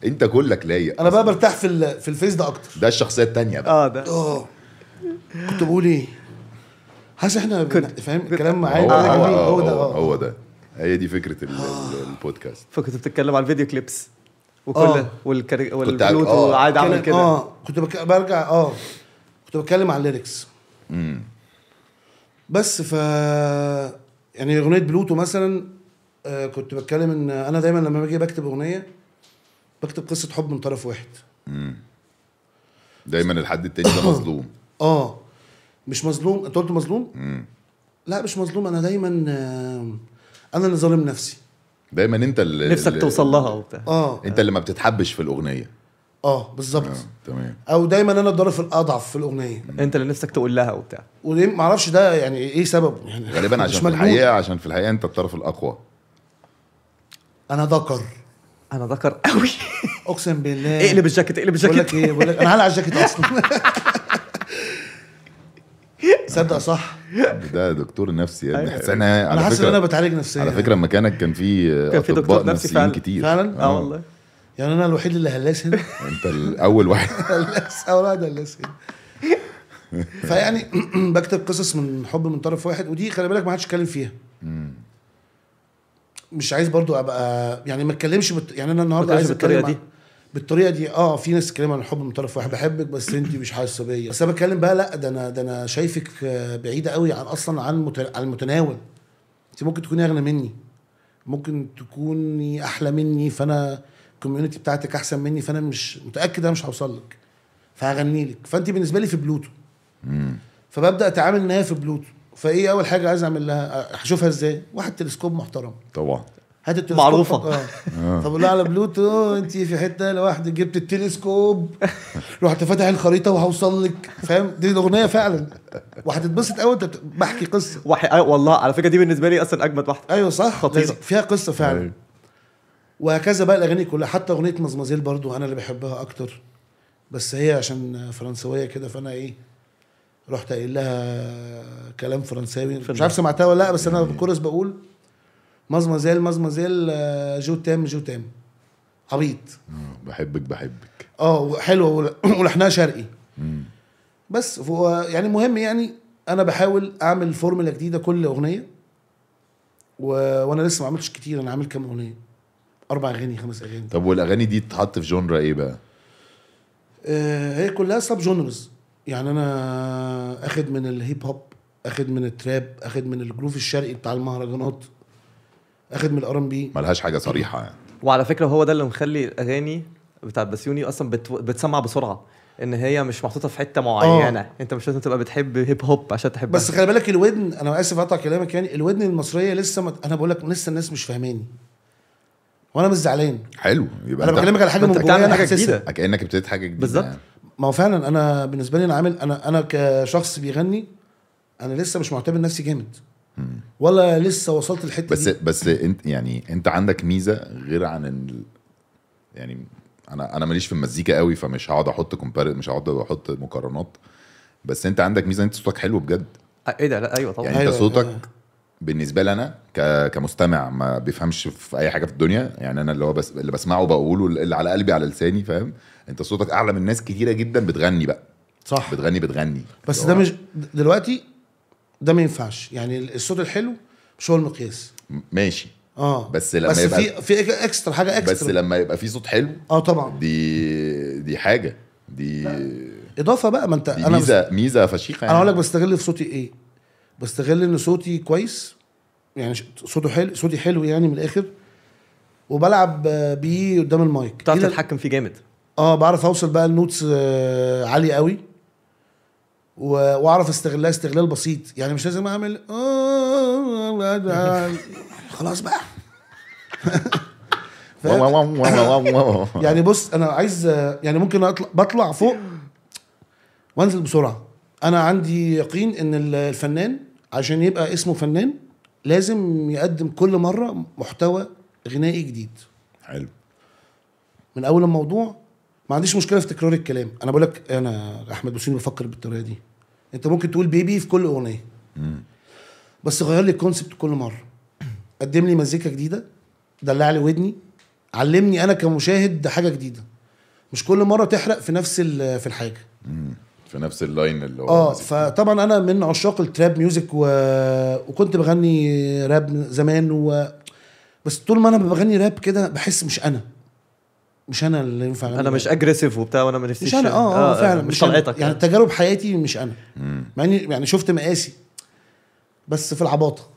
[SPEAKER 1] انت كلك لايق
[SPEAKER 3] انا بقى برتاح في ال- في الفيس ده اكتر
[SPEAKER 1] ده الشخصيه التانية بقى
[SPEAKER 2] اه ده
[SPEAKER 3] اه كنت بقول ايه؟ حاسس احنا بن-
[SPEAKER 2] كنت-
[SPEAKER 3] فاهم
[SPEAKER 2] كنت-
[SPEAKER 3] الكلام معايا
[SPEAKER 1] هو
[SPEAKER 3] معايا
[SPEAKER 1] هو
[SPEAKER 3] جميل،
[SPEAKER 1] هو
[SPEAKER 3] ده
[SPEAKER 1] ده
[SPEAKER 2] آه.
[SPEAKER 3] اه
[SPEAKER 1] هو ده هي دي فكره ال- ال- البودكاست
[SPEAKER 2] فكنت بتتكلم على الفيديو كليبس وكل
[SPEAKER 3] آه.
[SPEAKER 2] والكاري...
[SPEAKER 1] عاج-
[SPEAKER 2] والبلوت
[SPEAKER 1] آه.
[SPEAKER 2] وقاعد اعمل
[SPEAKER 3] كان-
[SPEAKER 2] كده
[SPEAKER 3] اه كنت بك... برجع اه كنت بتكلم على الليركس بس ف يعني اغنيه بلوتو مثلا آه كنت بتكلم ان انا دايما لما باجي بكتب اغنيه بكتب قصه حب من طرف واحد
[SPEAKER 1] دايما الحد التاني ده مظلوم
[SPEAKER 3] اه مش مظلوم انت قلت مظلوم؟ لا مش مظلوم انا دايما آه انا اللي ظالم نفسي
[SPEAKER 1] دايما انت اللي
[SPEAKER 2] نفسك توصل لها وبتاع
[SPEAKER 3] اه
[SPEAKER 1] انت اللي ما بتتحبش في الاغنيه
[SPEAKER 3] اه بالظبط
[SPEAKER 1] آه، تمام
[SPEAKER 3] او دايما انا الطرف الاضعف في الاغنيه
[SPEAKER 2] انت اللي نفسك تقول لها وبتاع
[SPEAKER 3] وليه ما اعرفش ده يعني ايه سببه يعني
[SPEAKER 1] غالبا
[SPEAKER 3] مش
[SPEAKER 1] عشان في
[SPEAKER 3] مجنون.
[SPEAKER 1] الحقيقه عشان في الحقيقه انت الطرف الاقوى
[SPEAKER 3] انا ذكر
[SPEAKER 2] انا ذكر قوي
[SPEAKER 3] اقسم بالله
[SPEAKER 2] اقلب الجاكيت اقلب
[SPEAKER 3] آه. بقول لك
[SPEAKER 2] الجاكيت
[SPEAKER 3] ايه بقول لك انا هلعب الجاكيت اصلا صدق صح
[SPEAKER 1] ده دكتور نفسي يا ابني
[SPEAKER 2] أيوة.
[SPEAKER 1] بس انا
[SPEAKER 3] انا
[SPEAKER 1] على
[SPEAKER 3] حاسس ان انا
[SPEAKER 1] فكره
[SPEAKER 3] بتعالج نفسيا
[SPEAKER 1] على فكره مكانك كان في
[SPEAKER 2] كان في
[SPEAKER 1] اطباء
[SPEAKER 2] دكتور نفسي
[SPEAKER 1] نفسيين
[SPEAKER 2] فعلا.
[SPEAKER 1] كتير آه.
[SPEAKER 3] فعلا؟
[SPEAKER 2] اه والله
[SPEAKER 3] يعني انا الوحيد اللي هلاس هنا
[SPEAKER 1] انت الاول واحد
[SPEAKER 3] هلاس اول واحد هلاس هنا فيعني بكتب قصص من حب من طرف واحد ودي خلي بالك ما حدش اتكلم فيها مش عايز برضو ابقى يعني ما اتكلمش بت... يعني انا النهارده
[SPEAKER 2] ما
[SPEAKER 3] عايز
[SPEAKER 2] اتكلمش بالطريقة
[SPEAKER 3] اتكلم
[SPEAKER 2] دي.
[SPEAKER 3] عن- بالطريقه دي اه في ناس تتكلم عن الحب من طرف واحد بحبك بس انت مش حاسه بيا بس انا بتكلم بقى لا ده انا ده انا شايفك آه، بعيده قوي عن اصلا عن مت... عن المتناول انت ممكن تكوني اغنى مني ممكن تكوني احلى مني فانا الكوميونتي بتاعتك احسن مني فانا مش متاكد انا مش هوصل لك فهغني لك فانت بالنسبه لي في بلوتو فببدا اتعامل ان هي في بلوتو فايه اول حاجه عايز اعمل لها هشوفها ازاي واحد تلسكوب محترم
[SPEAKER 1] طبعا
[SPEAKER 3] هات التلسكوب
[SPEAKER 2] معروفة.
[SPEAKER 3] حط- اه فبقول لها على بلوتو انت في حته لوحدك جبت التلسكوب رحت فاتح الخريطه وهوصل لك فاهم دي الاغنيه فعلا وهتتبسط قوي انت بت- بحكي قصه
[SPEAKER 2] وح... آه والله على فكره دي بالنسبه لي اصلا اجمد واحده
[SPEAKER 3] ايوه صح
[SPEAKER 2] خطيرة.
[SPEAKER 3] لازم- فيها قصه فعلا
[SPEAKER 1] أيوة.
[SPEAKER 3] وهكذا بقى الاغاني كلها حتى اغنيه مزمزيل برضو انا اللي بحبها اكتر بس هي عشان فرنسويه كده فانا ايه رحت قايل لها كلام فرنساوي مش عارف سمعتها ولا لا بس انا بالكورس بقول مزمزيل مزمزيل آه، جو تام جو تام عبيط
[SPEAKER 1] آه، بحبك بحبك
[SPEAKER 3] اه حلوه ول- ولحنها شرقي بس فهو يعني المهم يعني انا بحاول اعمل فورمولا جديده كل اغنيه و... وانا لسه ما عملتش كتير انا عامل كام اغنيه اربع اغاني خمس اغاني
[SPEAKER 1] طب والاغاني دي تتحط في جونرا ايه بقى
[SPEAKER 3] آه هي كلها سب جونرز يعني انا اخد من الهيب هوب اخد من التراب اخد من الجروف الشرقي بتاع المهرجانات اخد من الار ام بي
[SPEAKER 1] ملهاش حاجه صريحه يعني
[SPEAKER 2] وعلى فكره هو ده اللي مخلي الاغاني بتاعت بسيوني اصلا بت... بتسمع بسرعه ان هي مش محطوطه في حته معينه آه. انت مش لازم تبقى بتحب هيب هوب عشان تحبها
[SPEAKER 3] بس خلي بالك الودن انا اسف اقطع كلامك يعني الودن المصريه لسه مت... انا بقول لك لسه الناس مش فاهماني وانا مش زعلان
[SPEAKER 1] حلو يبقى
[SPEAKER 3] انا بكلمك على
[SPEAKER 2] ما
[SPEAKER 3] حاجه من
[SPEAKER 2] أنت
[SPEAKER 3] جوايا
[SPEAKER 2] بتعمل
[SPEAKER 3] انا
[SPEAKER 2] حاجة
[SPEAKER 3] حاسسها
[SPEAKER 2] جديدة.
[SPEAKER 1] كانك ابتديت حاجه جديده
[SPEAKER 2] بالظبط.
[SPEAKER 1] يعني.
[SPEAKER 3] ما هو فعلا انا بالنسبه لي انا عامل انا انا كشخص بيغني انا لسه مش معتبر نفسي جامد ولا لسه وصلت الحته
[SPEAKER 1] بس
[SPEAKER 3] دي
[SPEAKER 1] بس انت يعني انت عندك ميزه غير عن ال... يعني انا انا ماليش في المزيكا قوي فمش هقعد احط كومبار مش هقعد احط مقارنات بس انت عندك ميزه انت صوتك حلو بجد
[SPEAKER 2] آه، ايه ده لا ايوه طبعا
[SPEAKER 1] يعني انت
[SPEAKER 3] أيوة،
[SPEAKER 1] صوتك
[SPEAKER 3] أيوة.
[SPEAKER 1] بالنسبه لي انا ك... كمستمع ما بيفهمش في اي حاجه في الدنيا يعني انا اللي هو بس اللي بسمعه بقوله اللي على قلبي على لساني فاهم انت صوتك اعلى من ناس كتيره جدا بتغني بقى
[SPEAKER 3] صح
[SPEAKER 1] بتغني بتغني
[SPEAKER 3] بس
[SPEAKER 1] اللي
[SPEAKER 3] ده
[SPEAKER 1] هو
[SPEAKER 3] مش دلوقتي ده ما ينفعش يعني الصوت الحلو مش هو المقياس
[SPEAKER 1] ماشي
[SPEAKER 3] اه
[SPEAKER 1] بس لما
[SPEAKER 3] بس
[SPEAKER 1] يبقى-
[SPEAKER 3] في في اكسترا حاجه
[SPEAKER 1] بس
[SPEAKER 3] اكسترا
[SPEAKER 1] لما يبقى في صوت حلو
[SPEAKER 3] اه طبعا
[SPEAKER 1] دي دي حاجه دي
[SPEAKER 3] اضافه بقى ما انت
[SPEAKER 1] دي
[SPEAKER 3] انا بس
[SPEAKER 1] ميزه ميزه فشيخه
[SPEAKER 3] انا
[SPEAKER 1] يعني.
[SPEAKER 3] اقول لك بستغل في صوتي ايه بستغل ان صوتي كويس يعني ش- صوته حلو صوتي حلو يعني من الاخر وبلعب آه، بيه قدام المايك
[SPEAKER 2] بتعرف
[SPEAKER 3] دي ل-
[SPEAKER 2] تتحكم فيه جامد
[SPEAKER 3] اه بعرف اوصل بقى النوتس آه، عاليه قوي و- واعرف استغلها استغلال بسيط يعني مش لازم اعمل خلاص بقى
[SPEAKER 1] واو واو واو واو واو واو.
[SPEAKER 3] يعني بص انا عايز يعني ممكن اطلع بطلع فوق وانزل بسرعه انا عندي يقين ان ال- الفنان عشان يبقى اسمه فنان لازم يقدم كل مره محتوى غنائي جديد
[SPEAKER 1] حلو
[SPEAKER 3] من اول الموضوع ما عنديش مشكله في تكرار الكلام انا بقول لك انا احمد بوسيني بفكر بالطريقه دي انت ممكن تقول بيبي في كل اغنيه بس غير لي الكونسبت كل مره قدم لي مزيكا جديده دلع لي ودني علمني انا كمشاهد حاجه جديده مش كل مره تحرق في نفس ال- في الحاجه
[SPEAKER 1] في نفس اللاين اللي هو
[SPEAKER 3] اه
[SPEAKER 1] ماسك.
[SPEAKER 3] فطبعا انا من عشاق التراب ميوزك و... وكنت بغني راب زمان و... بس طول ما انا بغني راب كده بحس مش انا مش انا اللي ينفع أغني
[SPEAKER 2] انا
[SPEAKER 3] راب.
[SPEAKER 2] مش اجريسيف وبتاع وانا ما نفسيش
[SPEAKER 3] يعني
[SPEAKER 2] آه،
[SPEAKER 3] مش انا اه اه فعلا
[SPEAKER 2] مش
[SPEAKER 3] أنا.
[SPEAKER 2] طلعتك
[SPEAKER 3] يعني تجارب حياتي مش انا مع اني يعني شفت مقاسي بس في العباطه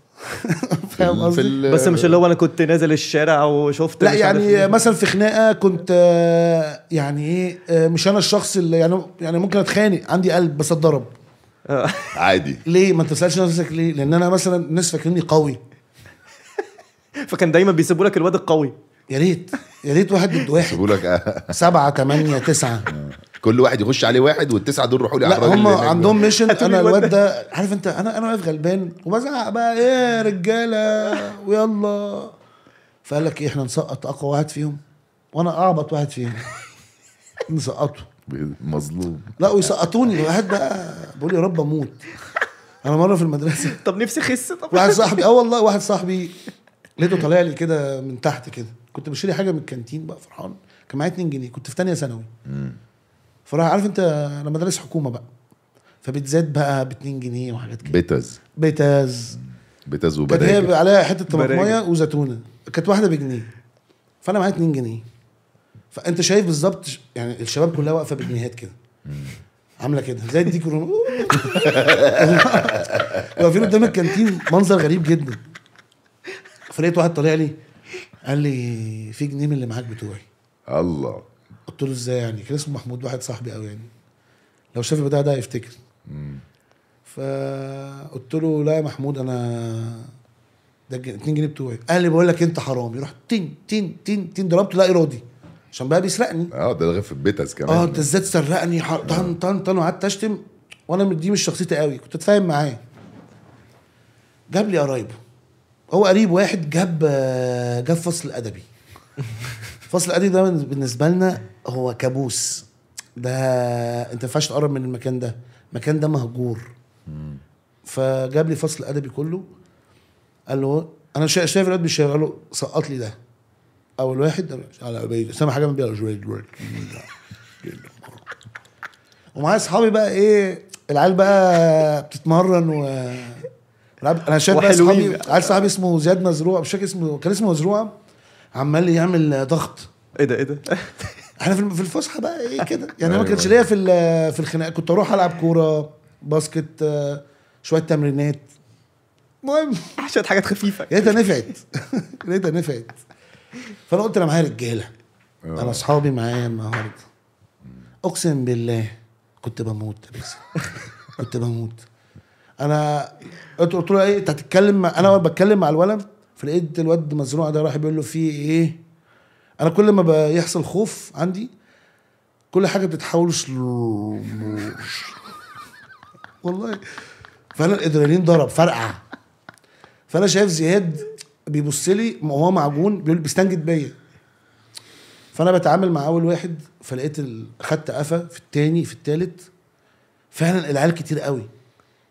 [SPEAKER 1] في
[SPEAKER 3] فاهم
[SPEAKER 1] ال- في
[SPEAKER 3] قصدي؟
[SPEAKER 1] ال-
[SPEAKER 2] بس مش اللي هو انا كنت نازل الشارع وشفت
[SPEAKER 3] لا
[SPEAKER 2] مش عارف
[SPEAKER 3] يعني
[SPEAKER 2] مين.
[SPEAKER 3] مثلا في خناقه كنت آه، يعني ايه آه، مش انا الشخص اللي يعني يعني ممكن اتخانق عندي قلب بس اتضرب
[SPEAKER 1] عادي
[SPEAKER 3] ليه ما انت تسالش نفسك ليه لان انا مثلا الناس فاكريني قوي
[SPEAKER 2] فكان دايما بيسيبوا لك الواد القوي
[SPEAKER 3] يا ريت يا ريت واحد ضد واحد
[SPEAKER 1] بيقول لك آه،
[SPEAKER 3] سبعة تمانية تسعة
[SPEAKER 1] كل واحد يخش عليه واحد والتسعه دول روحوا لي على
[SPEAKER 3] لا
[SPEAKER 1] الراجل
[SPEAKER 3] هم
[SPEAKER 1] اللي هناك ده.
[SPEAKER 3] عندهم ميشن
[SPEAKER 2] هاتولي
[SPEAKER 3] انا
[SPEAKER 2] الواد
[SPEAKER 3] الواد ده عارف انت انا انا واقف غلبان وبزعق بقى ايه يا رجاله ويلا فقال لك ايه احنا نسقط اقوى واحد فيهم وانا اعبط واحد فيهم نسقطه
[SPEAKER 1] مظلوم
[SPEAKER 3] لا ويسقطوني واحد بقى بقول يا رب اموت انا مره في المدرسه
[SPEAKER 2] طب نفسي خس طب
[SPEAKER 3] واحد صاحبي اه والله واحد صاحبي لقيته طالع لي كده من تحت كده كنت بشتري حاجه من الكانتين بقى فرحان كان معايا 2 جنيه كنت في ثانيه ثانوي فراح عارف انت انا مدارس حكومه بقى فبتزاد بقى ب 2 جنيه وحاجات كده
[SPEAKER 1] بيتز
[SPEAKER 3] بيتاز
[SPEAKER 1] بيتز
[SPEAKER 3] كانت هي
[SPEAKER 1] وبدايه
[SPEAKER 3] عليها حته طماطمايه
[SPEAKER 2] براجل.
[SPEAKER 3] وزيتونه كانت واحده بجنيه فانا معايا 2 جنيه فانت شايف بالظبط ش- يعني الشباب كلها واقفه بجنيهات كده عامله كده زي دي كورونا واقفين قدام الكانتين منظر غريب جدا فلقيت واحد طالع لي قال لي في جنيه من اللي معاك بتوعي
[SPEAKER 1] الله
[SPEAKER 3] قلت له ازاي يعني كان اسمه محمود واحد صاحبي قوي يعني لو شاف البتاع ده هيفتكر فقلت له لا يا محمود انا ده 2 جنيه بتوعي قال لي بقول لك انت حرامي رحت تين تين تين تين ضربته لا ارادي عشان بقى بيسرقني
[SPEAKER 1] اه ده غير في البيتز كمان
[SPEAKER 3] اه انت ازاي تسرقني حر- طن طن طن وقعدت اشتم وانا من- دي مش شخصيتي قوي كنت اتفاهم معاه جاب لي قرايبه هو قريب واحد جاب آه، جاب فصل ادبي فصل الادبي ده بالنس- بالنسبه لنا هو كابوس ده انت ما ينفعش تقرب من المكان ده المكان ده مهجور فجاب لي فصل ادبي كله قال له انا شا- شايف الواد بيشاور قال له سقط لي ده اول واحد على بعيد سامع حاجه من بيها ومعايا اصحابي بقى ايه العيال بقى بتتمرن و العيال- انا شايف بقى
[SPEAKER 2] وحلوين.
[SPEAKER 3] اصحابي عيل صاحبي اسمه زياد مزروع مش فاكر اسمه كان اسمه مزروع عمال يعمل ضغط
[SPEAKER 2] ايه ده ايه ده
[SPEAKER 3] احنا في الم- في الفسحه بقى ايه كده يعني أنا
[SPEAKER 1] أيوة.
[SPEAKER 3] ما كانش ليا في ال- في الخناقه كنت اروح العب كوره باسكت آه، شويه تمرينات المهم
[SPEAKER 2] شويه حاجات خفيفه
[SPEAKER 3] لقيتها نفعت لقيتها نفعت فانا قلت انا معايا رجاله انا اصحابي معايا النهارده اقسم بالله كنت بموت يا باسم. كنت بموت انا قلت قلت له ايه انت هتتكلم مع... انا بتكلم مع الولد فلقيت الواد مزروع ده راح بيقول له في ايه انا كل ما بيحصل خوف عندي كل حاجه بتتحول سلو موشن. والله فانا الادرينالين ضرب فرقع فانا شايف زياد بيبص لي وهو معجون بيقول بيستنجد بيا فانا بتعامل مع اول واحد فلقيت ال- خدت قفا في التاني في التالت فعلا العيال كتير قوي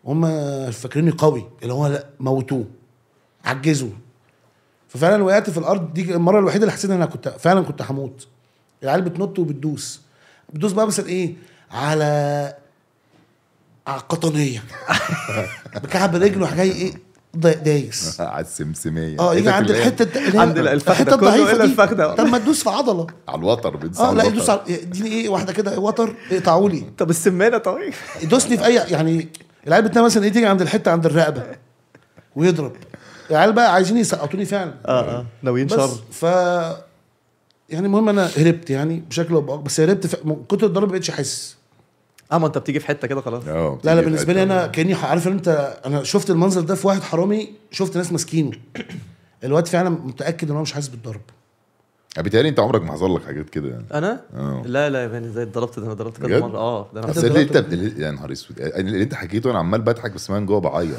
[SPEAKER 3] هم فاكريني قوي اللي هو لا موتوه عجزوا ففعلا وقعت في الارض دي المره الوحيده اللي حسيت ان انا كنت فعلا كنت هموت العيال بتنط وبتدوس بتدوس بقى مثلا ايه على على القطنيه بكعب رجله حاجه ايه دا- دايس
[SPEAKER 1] على السمسميه
[SPEAKER 3] اه
[SPEAKER 2] يعني
[SPEAKER 3] يجي
[SPEAKER 1] حتة
[SPEAKER 3] عند
[SPEAKER 1] اللي هي
[SPEAKER 2] إيه؟ عند
[SPEAKER 3] الحته الت- اللي هي
[SPEAKER 2] الفخدة،
[SPEAKER 3] الحتة
[SPEAKER 2] كله
[SPEAKER 3] الضعيفة
[SPEAKER 2] إلا
[SPEAKER 3] دي.
[SPEAKER 2] الفخدة.
[SPEAKER 3] طب ما تدوس في عضله
[SPEAKER 1] على الوتر بتدوس
[SPEAKER 3] اه
[SPEAKER 1] على
[SPEAKER 3] لا
[SPEAKER 1] الوتر.
[SPEAKER 3] يدوس على اديني ايه واحده كده وتر اقطعوا لي
[SPEAKER 2] طب السمانه طيب
[SPEAKER 3] يدوسني في اي يعني العيال بتنام مثلا ايه تيجي عند الحته عند الرقبه ويضرب العيال بقى عايزين يسقطوني فعلا
[SPEAKER 2] اه اه ناويين
[SPEAKER 3] بس
[SPEAKER 2] شر
[SPEAKER 3] ف يعني المهم انا هربت يعني بشكل او باخر بس هربت ف... من كتر الضرب ما بقتش احس
[SPEAKER 2] اه ما انت بتيجي في حته كده خلاص
[SPEAKER 1] اه
[SPEAKER 3] لا لا
[SPEAKER 1] بتيجي
[SPEAKER 3] بالنسبه لي
[SPEAKER 1] الحتة
[SPEAKER 3] انا كاني ح- عارف إن انت انا شفت المنظر ده في واحد حرامي شفت ناس ماسكينه الواد فعلا متاكد ان هو مش حاسس بالضرب
[SPEAKER 1] دي. آه، بيتهيألي انت عمرك ما حصل لك حاجات كده يعني
[SPEAKER 2] انا
[SPEAKER 1] اه
[SPEAKER 2] لا لا يا بني زي اتضربت ده انا ضربت كذا
[SPEAKER 1] بجد؟
[SPEAKER 2] مره اه ده انا
[SPEAKER 1] اصل اللي انت
[SPEAKER 3] اتضربت
[SPEAKER 1] بت- يا نهار اسود أنا اللي انت حكيته انا عمال بضحك بس من جوه بعيط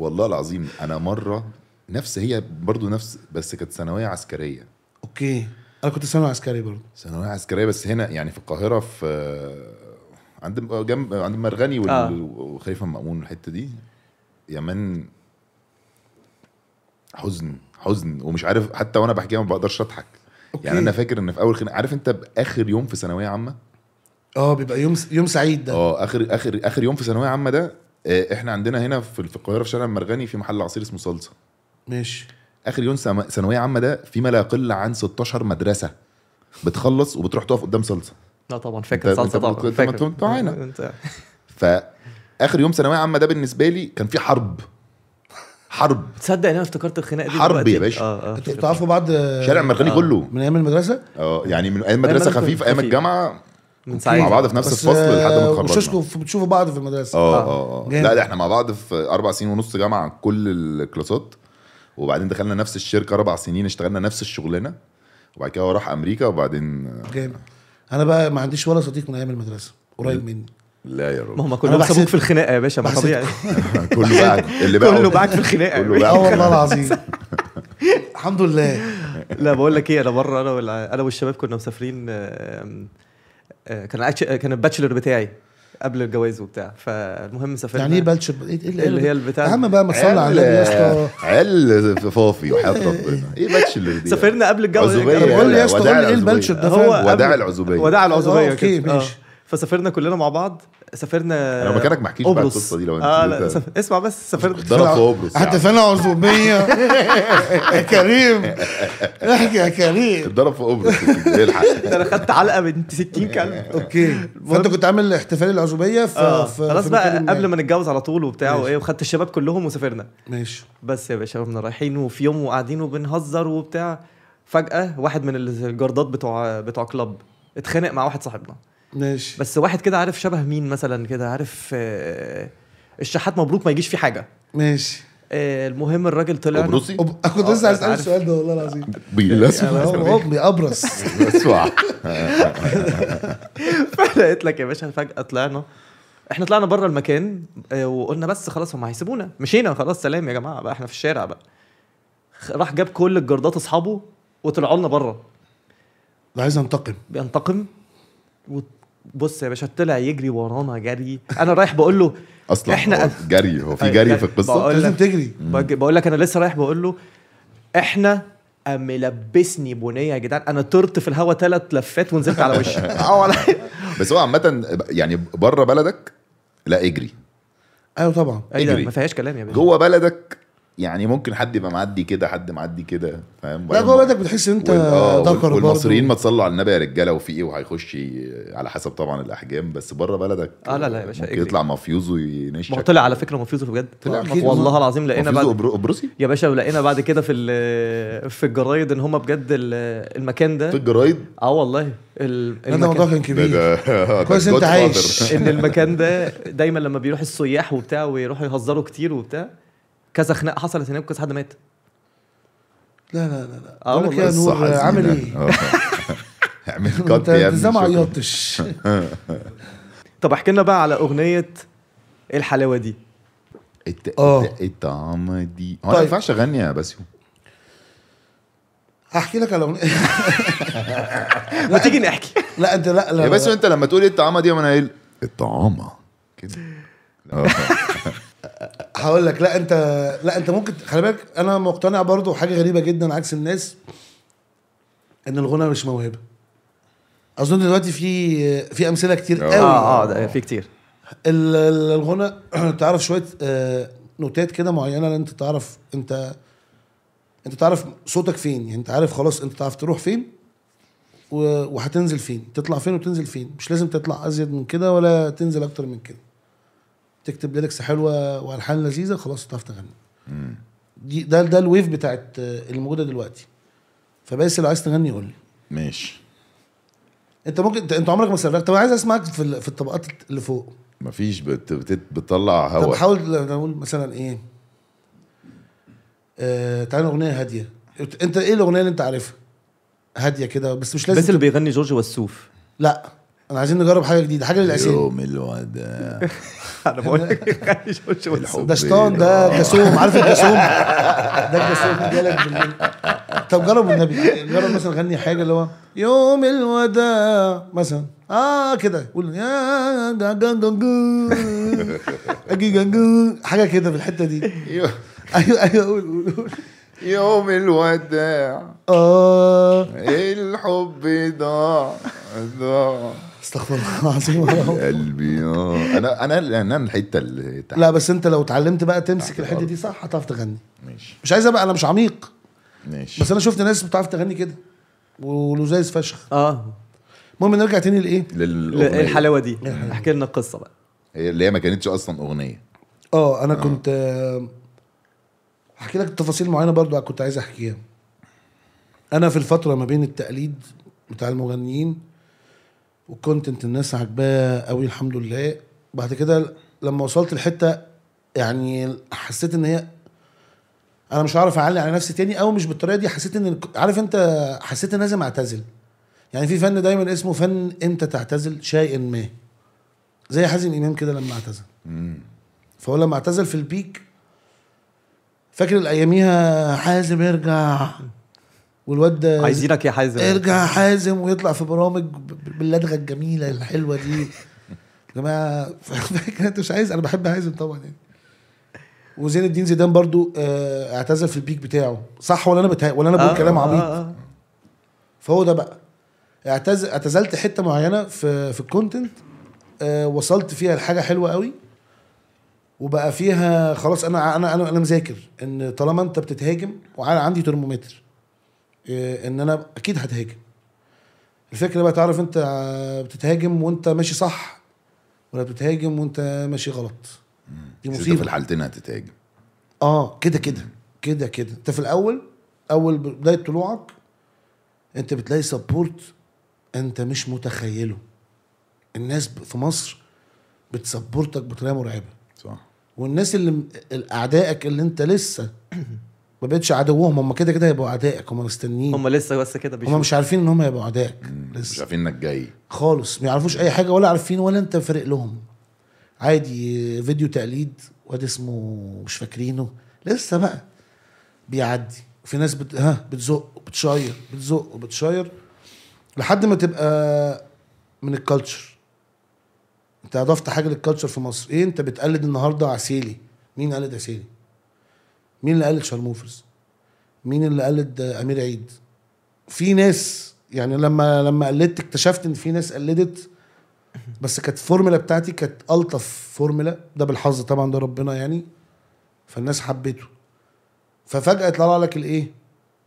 [SPEAKER 1] والله العظيم انا مره نفس هي برضو نفس بس كانت ثانويه عسكريه
[SPEAKER 3] اوكي انا كنت ثانوي عسكري برضه
[SPEAKER 1] ثانويه عسكريه بس هنا يعني في القاهره في آه، عند جنب عند مرغني وال-
[SPEAKER 2] آه.
[SPEAKER 1] وخليفه مأمون والحته دي يا من حزن حزن ومش عارف حتى وانا بحكيها ما بقدرش اضحك
[SPEAKER 3] أوكي.
[SPEAKER 1] يعني انا فاكر ان في اول خناقه عارف انت باخر يوم في ثانويه عامه
[SPEAKER 3] اه بيبقى يوم يوم سعيد ده
[SPEAKER 1] اه اخر اخر اخر يوم في ثانويه عامه ده آه، احنا عندنا هنا في في القاهره في شارع المرغني في محل عصير اسمه صلصه
[SPEAKER 3] ماشي
[SPEAKER 1] اخر يوم سما- ثانويه عامه ده في ما لا يقل عن 16 مدرسه بتخلص وبتروح تقف قدام صلصه
[SPEAKER 2] لا طبعا
[SPEAKER 1] أنت-
[SPEAKER 2] آه، فاكر
[SPEAKER 1] أنت
[SPEAKER 2] صلصه
[SPEAKER 1] كنت-
[SPEAKER 2] طبعا
[SPEAKER 1] أنت
[SPEAKER 2] فاكر
[SPEAKER 1] كنت معانا.
[SPEAKER 2] انت
[SPEAKER 1] فاخر يوم ثانويه عامه ده بالنسبه لي كان في حرب حرب
[SPEAKER 2] تصدق ان انا افتكرت الخناقه دي
[SPEAKER 1] حرب يا
[SPEAKER 2] دلوقتي؟
[SPEAKER 1] باشا.
[SPEAKER 2] اه اه
[SPEAKER 3] انتوا بتعرفوا بعض آه،
[SPEAKER 1] شارع المرغني
[SPEAKER 2] آه.
[SPEAKER 1] كله
[SPEAKER 3] من ايام المدرسه
[SPEAKER 1] اه يعني من ايام مدرسه
[SPEAKER 2] كنت
[SPEAKER 1] خفيف ايام
[SPEAKER 2] خفيف.
[SPEAKER 1] الجامعه
[SPEAKER 2] من
[SPEAKER 1] مع
[SPEAKER 2] ساعتها
[SPEAKER 1] بعض في نفس
[SPEAKER 3] بس،
[SPEAKER 1] الفصل لحد
[SPEAKER 3] آه،
[SPEAKER 1] ما اتخرجنا
[SPEAKER 3] وشوشكوا في- بتشوفوا بعض في المدرسه
[SPEAKER 1] اه
[SPEAKER 2] آه.
[SPEAKER 1] اه اه
[SPEAKER 3] جامد.
[SPEAKER 1] لا ده احنا مع بعض في اربع سنين ونص جامعه عن كل الكلاسات وبعدين دخلنا نفس الشركه اربع سنين اشتغلنا نفس الشغلانه وبعد كده هو راح امريكا وبعدين
[SPEAKER 3] جامد انا بقى ما عنديش ولا صديق من ايام المدرسه قريب مني
[SPEAKER 1] لا يا
[SPEAKER 2] ما
[SPEAKER 1] راجل
[SPEAKER 2] هم كلهم
[SPEAKER 3] بحسد-
[SPEAKER 2] سابوك في الخناقه يا باشا ما طبيعي
[SPEAKER 1] كله بعد اللي بقى
[SPEAKER 2] كله بعك في الخناقه
[SPEAKER 1] كله
[SPEAKER 3] اه
[SPEAKER 1] بقى
[SPEAKER 3] والله العظيم الحمد لله
[SPEAKER 2] لا بقول لك ايه انا مره انا والع- انا والشباب كنا مسافرين آم، آه، كان أكش- كان الباتشلر بتاعي قبل الجواز وبتاع فالمهم سافرنا
[SPEAKER 3] يعني ايه بلش ايه ايه اللي-
[SPEAKER 2] اللي هي البتاع
[SPEAKER 3] يا عم بقى ما تصلي على النبي يا اسطى
[SPEAKER 1] عيال فافي وحياه ربنا ايه باتشلر دي
[SPEAKER 2] سافرنا قبل الجواز
[SPEAKER 1] عزوبية يعني.
[SPEAKER 3] أنا بقول
[SPEAKER 1] يلا،
[SPEAKER 3] يا اسطى قول
[SPEAKER 1] وداع
[SPEAKER 3] لي ايه
[SPEAKER 1] العزوبية.
[SPEAKER 3] البلش ده
[SPEAKER 2] هو
[SPEAKER 3] فاهم؟
[SPEAKER 1] وداع
[SPEAKER 2] قبل-
[SPEAKER 1] العزوبيه
[SPEAKER 2] وداع العزوبيه
[SPEAKER 3] آه، أوكي،
[SPEAKER 2] كده. آه.
[SPEAKER 3] ماشي.
[SPEAKER 2] فسافرنا كلنا مع بعض سافرنا
[SPEAKER 1] أنا مكانك ما أحكيش بقى
[SPEAKER 2] قبرص.
[SPEAKER 1] القصة دي لو أنت-
[SPEAKER 2] اه لا
[SPEAKER 1] أنت-
[SPEAKER 2] سف... اسمع بس سافرنا
[SPEAKER 1] ضرب في قبرص يا
[SPEAKER 3] حتى
[SPEAKER 1] عم.
[SPEAKER 3] فانا عزوبيه يا كريم احكي يا كريم
[SPEAKER 1] اتضرب في قبرص الحق
[SPEAKER 2] ده انا خدت علقه بنت 60 كلب
[SPEAKER 3] اوكي فانت كنت عامل احتفال العزوبيه في
[SPEAKER 2] اه
[SPEAKER 3] في-
[SPEAKER 2] خلاص
[SPEAKER 3] في
[SPEAKER 2] بقى
[SPEAKER 3] مكان ما.
[SPEAKER 2] قبل ما نتجوز على طول وبتاع
[SPEAKER 3] ماشي.
[SPEAKER 2] وايه وخدت الشباب كلهم وسافرنا
[SPEAKER 3] ماشي
[SPEAKER 2] بس يا باشا كنا رايحين وفي يوم وقاعدين وبنهزر وبتاع فجأة واحد من الجردات بتوع بتوع كلاب اتخانق مع واحد صاحبنا
[SPEAKER 3] ماشي
[SPEAKER 2] بس واحد كده عارف شبه مين مثلا كده عارف آه، الشحات مبروك ما يجيش فيه حاجة
[SPEAKER 3] ماشي
[SPEAKER 2] آه، المهم الراجل طلع
[SPEAKER 1] قبرصي
[SPEAKER 3] أب- كنت
[SPEAKER 2] آه،
[SPEAKER 3] لسه عايز اسال
[SPEAKER 2] عارف.
[SPEAKER 3] السؤال ده والله العظيم
[SPEAKER 2] يعني
[SPEAKER 3] هو
[SPEAKER 1] بالاسود
[SPEAKER 3] بيأبرص
[SPEAKER 1] اسمع
[SPEAKER 2] لقيت لك يا باشا فجأة طلعنا احنا طلعنا بره المكان آه، وقلنا بس خلاص هم هيسيبونا مشينا خلاص سلام يا جماعة بقى احنا في الشارع بقى خ- راح جاب كل الجردات اصحابه وطلعوا لنا بره
[SPEAKER 3] ده عايز انتقم
[SPEAKER 2] بينتقم بص يا باشا طلع يجري ورانا جري انا رايح بقول له
[SPEAKER 1] اصلا
[SPEAKER 2] إحنا- أيوة.
[SPEAKER 1] احنا جري هو في جري في القصه
[SPEAKER 2] بقول
[SPEAKER 3] لازم
[SPEAKER 2] لك-
[SPEAKER 3] تجري
[SPEAKER 2] بج- بقول لك انا لسه رايح بقول له احنا قام ملبسني بنيه يا جدعان انا طرت في الهوا ثلاث لفات ونزلت على وشي
[SPEAKER 1] اه،
[SPEAKER 2] أو على-
[SPEAKER 1] بس هو عامه يعني بره بلدك لا اجري
[SPEAKER 3] ايوه طبعا
[SPEAKER 2] ايه ده
[SPEAKER 1] اجري.
[SPEAKER 2] ما فيهاش كلام يا باشا
[SPEAKER 1] جوه بلدك يعني ممكن حد يبقى معدي كده حد معدي كده فاهم
[SPEAKER 3] لا جوه بلدك بتحس ان انت
[SPEAKER 1] وال- آه،
[SPEAKER 3] ذكر برضه.
[SPEAKER 1] والمصريين ما تصلوا على النبي يا رجاله وفي ايه وهيخش ي- على حسب طبعا الاحجام بس بره بلدك
[SPEAKER 2] آه، لا، لا يا باشا،
[SPEAKER 1] ممكن
[SPEAKER 2] اجري.
[SPEAKER 1] يطلع مافيوزو
[SPEAKER 2] ما هو
[SPEAKER 1] ينشك
[SPEAKER 2] طلع على فكره مفيوزو بجد
[SPEAKER 1] طلع
[SPEAKER 3] أكيد.
[SPEAKER 2] والله العظيم لقينا
[SPEAKER 1] مافيوزو
[SPEAKER 2] بعد
[SPEAKER 1] أبرو- ابروسي
[SPEAKER 2] يا باشا ولقينا بعد كده في ال- في الجرايد ان هم بجد ال- المكان
[SPEAKER 1] في
[SPEAKER 2] ده
[SPEAKER 1] الجرايد
[SPEAKER 2] اه والله ال-
[SPEAKER 3] لا ده موضوع
[SPEAKER 2] المكان
[SPEAKER 3] كان
[SPEAKER 1] ده-
[SPEAKER 3] كبير
[SPEAKER 1] ده
[SPEAKER 3] كويس
[SPEAKER 1] ده
[SPEAKER 3] أنت
[SPEAKER 1] Godfather.
[SPEAKER 3] عايش.
[SPEAKER 2] ان المكان ده دايما لما بيروح السياح وبتاع ويروحوا يهزروا كتير وبتاع كذا خناقه حصلت هناك وكذا حد مات
[SPEAKER 3] لا لا لا لا
[SPEAKER 2] آه
[SPEAKER 3] بقول لك
[SPEAKER 2] والله.
[SPEAKER 3] إيه يا
[SPEAKER 1] قصة
[SPEAKER 3] نور
[SPEAKER 1] حزينة.
[SPEAKER 3] عامل ايه؟
[SPEAKER 1] آه. اعمل كات
[SPEAKER 3] انت
[SPEAKER 1] يا
[SPEAKER 3] أنت
[SPEAKER 1] ابني
[SPEAKER 3] ازاي ما
[SPEAKER 1] شكراً.
[SPEAKER 3] عيطتش؟
[SPEAKER 2] طب احكي لنا بقى على اغنيه إيه الحلاوه دي
[SPEAKER 1] الت...
[SPEAKER 3] آه.
[SPEAKER 1] الت... الطعمة دي هو أنا ما
[SPEAKER 3] طيب.
[SPEAKER 1] ينفعش اغني يا باسيو
[SPEAKER 3] هحكي لك على اغنيه
[SPEAKER 2] ما تيجي نحكي
[SPEAKER 3] لا انت لا لا
[SPEAKER 1] يا باسيو
[SPEAKER 3] لا.
[SPEAKER 1] انت لما تقول إيه الطعمة دي وانا قايل الطعمة كده آه.
[SPEAKER 3] هقول لك لا انت لا انت ممكن خلي بالك انا مقتنع برضو حاجه غريبه جدا عكس الناس ان الغنى مش موهبه اظن دلوقتي في في امثله كتير
[SPEAKER 1] آه.
[SPEAKER 3] قوي
[SPEAKER 2] اه اه ده في كتير
[SPEAKER 3] ال- ال- الغنى تعرف شويه آه، نوتات كده معينه ان انت تعرف انت انت تعرف صوتك فين يعني انت عارف خلاص انت تعرف تروح فين و- وهتنزل فين تطلع فين وتنزل فين مش لازم تطلع ازيد من كده ولا تنزل اكتر من كده تكتب ليركس حلوه والحان لذيذه خلاص تعرف تغني دي ده ده الويف بتاعت آه، الموجوده دلوقتي فبس لو عايز تغني قول لي
[SPEAKER 1] ماشي
[SPEAKER 3] انت ممكن انت- انت عمرك ما سرقت طب عايز اسمعك في ال- في الطبقات اللي فوق
[SPEAKER 1] مفيش بت... بت... بتطلع
[SPEAKER 3] طب
[SPEAKER 1] هوا
[SPEAKER 3] حاول ل- نقول مثلا ايه آه تعالى اغنيه هاديه إنت- انت ايه الاغنيه اللي انت عارفها هاديه كده بس مش لازم
[SPEAKER 2] بس اللي بيغني جورج والسوف
[SPEAKER 3] لا انا عايزين نجرب حاجه جديده حاجه للاسامي
[SPEAKER 1] يوم الوداع
[SPEAKER 2] انا بقول لك بيغني جورج والسوف
[SPEAKER 1] الحب
[SPEAKER 3] ده شطان ده جاسوم عارف الجاسوم ده الجاسوم جالك بالليل طب جرب والنبي جرب مثلا غني حاجه اللي هو يوم الوداع مثلا اه كده قول يا جا- جا- جا- جا. أجي جا- جا. حاجه كده في الحته دي ايوه ايوه قول قول قول
[SPEAKER 1] يوم الوداع
[SPEAKER 3] اه
[SPEAKER 1] الحب ضاع ضاع
[SPEAKER 3] استغفر الله العظيم
[SPEAKER 1] قلبي آه. يا انا انا انا الحته اللي تحت
[SPEAKER 3] لا بس انت لو اتعلمت بقى تمسك
[SPEAKER 1] تحت
[SPEAKER 3] الحته
[SPEAKER 1] الأرض.
[SPEAKER 3] دي صح هتعرف تغني
[SPEAKER 1] ماشي
[SPEAKER 3] مش عايز ابقى انا مش عميق
[SPEAKER 1] ماشي
[SPEAKER 3] بس انا شفت ناس بتعرف تغني كده ولزاز فشخ
[SPEAKER 2] اه
[SPEAKER 3] المهم نرجع تاني لايه
[SPEAKER 1] للأغنية.
[SPEAKER 2] الحلاوه دي احكي لنا القصه بقى
[SPEAKER 1] هي اللي هي ما كانتش اصلا اغنيه
[SPEAKER 3] اه انا كنت آه، هحكي لك تفاصيل معينه برضو كنت عايز احكيها انا في الفتره ما بين التقليد بتاع المغنيين والكونتنت الناس عجباه قوي الحمد لله بعد كده لما وصلت لحته يعني حسيت ان هي انا مش هعرف اعلي على نفسي تاني او مش بالطريقه دي حسيت ان عارف انت حسيت ان لازم اعتزل يعني في فن دايما اسمه فن امتى تعتزل شيئا ما زي حازم امام كده لما اعتزل فهو لما اعتزل في البيك فاكر الاياميها حازم ارجع والواد ده
[SPEAKER 2] عايزينك يا حازم
[SPEAKER 3] ارجع حازم ويطلع في برامج ب- باللدغه الجميله الحلوه دي يا جماعه فاكر انت مش عايز انا بحب حازم طبعا يعني وزين الدين زيدان برضو آه، اعتزل في البيك بتاعه صح ولا انا بتهيأ ولا انا بقول
[SPEAKER 2] آه،
[SPEAKER 3] كلام
[SPEAKER 2] آه،
[SPEAKER 3] عبيط
[SPEAKER 2] آه.
[SPEAKER 3] فهو ده بقى اعتز... اعتزلت حته معينه في في الكونتنت آه وصلت فيها لحاجه حلوه قوي وبقى فيها خلاص انا انا انا, أنا مذاكر ان طالما انت بتتهاجم وعلى عندي ترمومتر آه ان انا اكيد هتهاجم الفكره بقى تعرف انت آه، بتتهاجم وانت ماشي صح ولا بتتهاجم وانت ماشي غلط دي
[SPEAKER 1] بس انت
[SPEAKER 3] مصيبه
[SPEAKER 1] في الحالتين هتتهاجم
[SPEAKER 3] اه كده كده كده كده انت في الاول اول بدايه طلوعك انت بتلاقي سبورت انت مش متخيله الناس ب- في مصر بتسبورتك بطريقه مرعبه
[SPEAKER 1] صح
[SPEAKER 3] والناس اللي م- اعدائك اللي انت لسه ما بقتش عدوهم هم كده كده هيبقوا اعدائك هم مستنيين
[SPEAKER 2] هم لسه بس كده
[SPEAKER 3] هم
[SPEAKER 2] بيشوفوا
[SPEAKER 3] مش عارفين ان هم هيبقوا اعدائك
[SPEAKER 1] مش
[SPEAKER 3] لسه
[SPEAKER 1] عارفين انك جاي
[SPEAKER 3] خالص ما يعرفوش اي حاجه ولا عارفين ولا انت فارق لهم عادي فيديو تقليد واد اسمه مش فاكرينه لسه بقى بيعدي في ناس بت... ها بتزق وبتشير بتزق وبتشير لحد ما تبقى من الكالتشر انت اضفت حاجه للكالتشر في مصر ايه انت بتقلد النهارده عسيلي مين قلد عسيلي مين اللي قلد شارموفرز مين اللي قلد آه، امير عيد في ناس يعني لما لما قلدت اكتشفت ان في ناس قلدت بس كانت الفورمولا بتاعتي كانت الطف فورمولا ده بالحظ طبعا ده ربنا يعني فالناس حبته ففجاه طلع لك الايه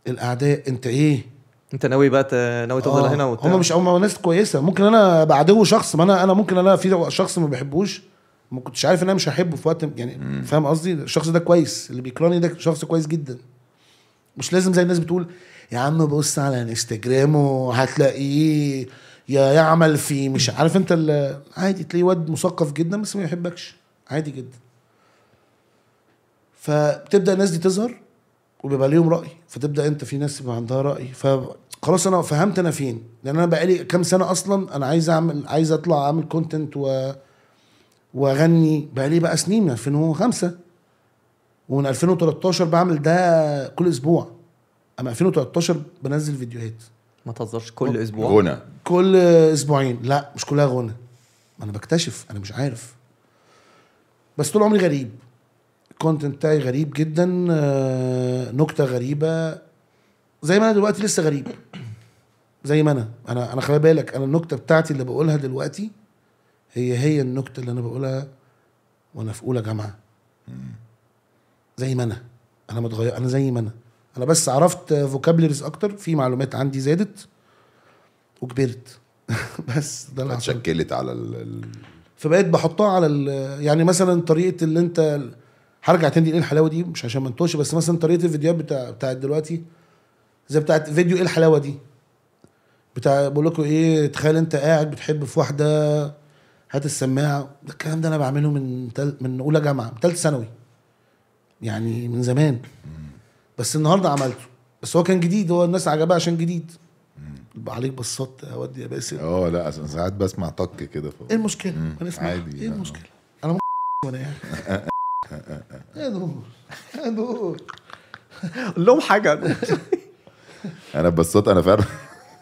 [SPEAKER 3] الاعداء انت ايه
[SPEAKER 2] انت ناوي بقى ت- ناوي تفضل هنا وبتاع
[SPEAKER 3] هم آه، مش هم ناس كويسه ممكن انا أبقى عدو شخص ما انا انا ممكن انا في شخص ما بحبوش ما كنتش عارف ان انا مش هحبه في وقت يعني فاهم قصدي الشخص ده كويس اللي بيكرهني ده شخص كويس جدا مش لازم زي الناس بتقول يا عم بص على انستجرامه هتلاقيه يا يعمل في مش عارف انت ال- عادي تلاقيه واد مثقف جدا بس ما يحبكش عادي جدا فبتبدا الناس دي تظهر وبيبقى ليهم راي فتبدا انت في ناس يبقى عندها راي فخلاص انا فهمت انا فين لان انا بقالي كام سنه اصلا انا عايز اعمل عايز اطلع اعمل كونتنت و واغني بقالي بقى سنين من 2005 ومن 2013 بعمل ده كل اسبوع اما 2013 بنزل فيديوهات
[SPEAKER 2] ما تهزرش كل اسبوع
[SPEAKER 1] غنى
[SPEAKER 3] كل اسبوعين لا مش كلها غنى ما انا بكتشف انا مش عارف بس طول عمري غريب الكونتنت بتاعي غريب جدا آه، نكته غريبه زي ما انا دلوقتي لسه غريب زي ما انا انا انا خلي بالك انا النكته بتاعتي اللي بقولها دلوقتي هي هي النكته اللي انا بقولها وانا في اولى جامعه زي ما انا انا متغير انا زي ما انا انا بس عرفت فوكابلريز اكتر في معلومات عندي زادت وكبرت بس ده اللي حصل
[SPEAKER 1] اتشكلت على ال... ال...
[SPEAKER 3] فبقيت بحطها على ال يعني مثلا طريقه اللي انت هرجع تاني ايه الحلاوه دي مش عشان ما انطوش بس مثلا طريقه الفيديوهات بتاع بتاعت دلوقتي زي بتاعت فيديو ايه الحلاوه دي بتاع بقول لكم ايه تخيل انت قاعد بتحب في واحده هات السماعه ده الكلام ده انا بعمله من تل من اولى جامعه من ثالث ثانوي يعني من زمان بس النهارده عملته بس هو كان جديد هو الناس عجبها عشان جديد عليك بصات اودي يا باسل
[SPEAKER 1] اه لا أصل ساعات بسمع طق كده ف...
[SPEAKER 3] ايه المشكله؟
[SPEAKER 1] مم.
[SPEAKER 3] ما نسمع
[SPEAKER 1] عادي.
[SPEAKER 3] ايه
[SPEAKER 1] آه.
[SPEAKER 3] المشكله؟ انا م... وانا يعني يا نور يا نور
[SPEAKER 2] قول لهم حاجه
[SPEAKER 1] انا ببساطة انا فعلا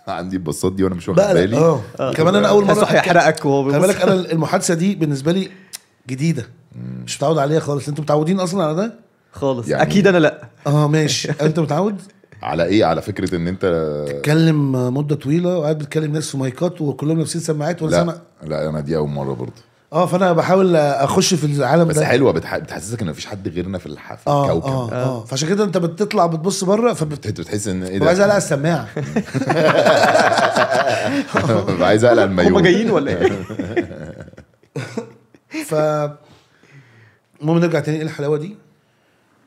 [SPEAKER 1] عندي البساط دي وانا مش واخد
[SPEAKER 3] بقى
[SPEAKER 1] بالي
[SPEAKER 3] اه كمان انا اول مره
[SPEAKER 2] تحسه
[SPEAKER 3] أتكلم.
[SPEAKER 2] هيحرقك وهو
[SPEAKER 3] خلي بالك
[SPEAKER 2] بيبص.
[SPEAKER 3] انا المحادثه دي بالنسبه لي جديده مش متعود عليها خالص انتوا متعودين اصلا على ده؟
[SPEAKER 2] خالص
[SPEAKER 1] يعني-
[SPEAKER 2] اكيد انا لا
[SPEAKER 3] اه ماشي انت متعود؟
[SPEAKER 1] على ايه على فكرة ان انت
[SPEAKER 3] تتكلم مده طويله وقاعد بتكلم ناس في مايكات وكلهم لابسين سماعات وانا سامع
[SPEAKER 1] لا لا انا دي اول مرة برضه
[SPEAKER 3] اه فانا بحاول اخش في العالم
[SPEAKER 1] بس
[SPEAKER 3] ده
[SPEAKER 1] حلوة بتح... بتحسسك ان مفيش حد غيرنا في الحفل
[SPEAKER 3] اه اه
[SPEAKER 1] الكوكب
[SPEAKER 3] اه فعشان كده انت بتطلع بتبص بره فبت
[SPEAKER 1] بت- بتحس ان ايه
[SPEAKER 3] ببقى عايز اقلع
[SPEAKER 1] ده
[SPEAKER 3] السماعه
[SPEAKER 1] ببقى عايز اقلع المايوه
[SPEAKER 2] هم جايين ولا
[SPEAKER 3] إيه؟
[SPEAKER 2] ايه؟
[SPEAKER 3] ف المهم نرجع تاني ايه الحلاوه دي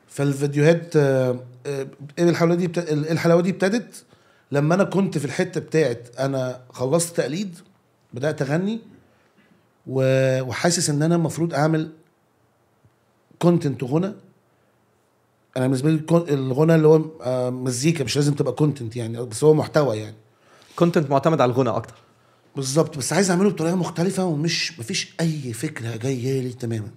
[SPEAKER 3] فالفيديوهات آه، آه، ايه الحلاوه دي بتا... إيه الحلاوه دي ابتدت لما انا كنت في الحته بتاعت انا خلصت تقليد بدات اغني و... وحاسس ان انا المفروض اعمل كونتنت غنى انا بالنسبه لي الكون- الغنى اللي هو آه، مزيكا مش لازم تبقى كونتنت يعني بس هو محتوى يعني
[SPEAKER 2] كونتنت معتمد على الغنى اكتر
[SPEAKER 3] بالظبط بس عايز اعمله بطريقه مختلفه ومش مفيش اي فكره جايه لي تماما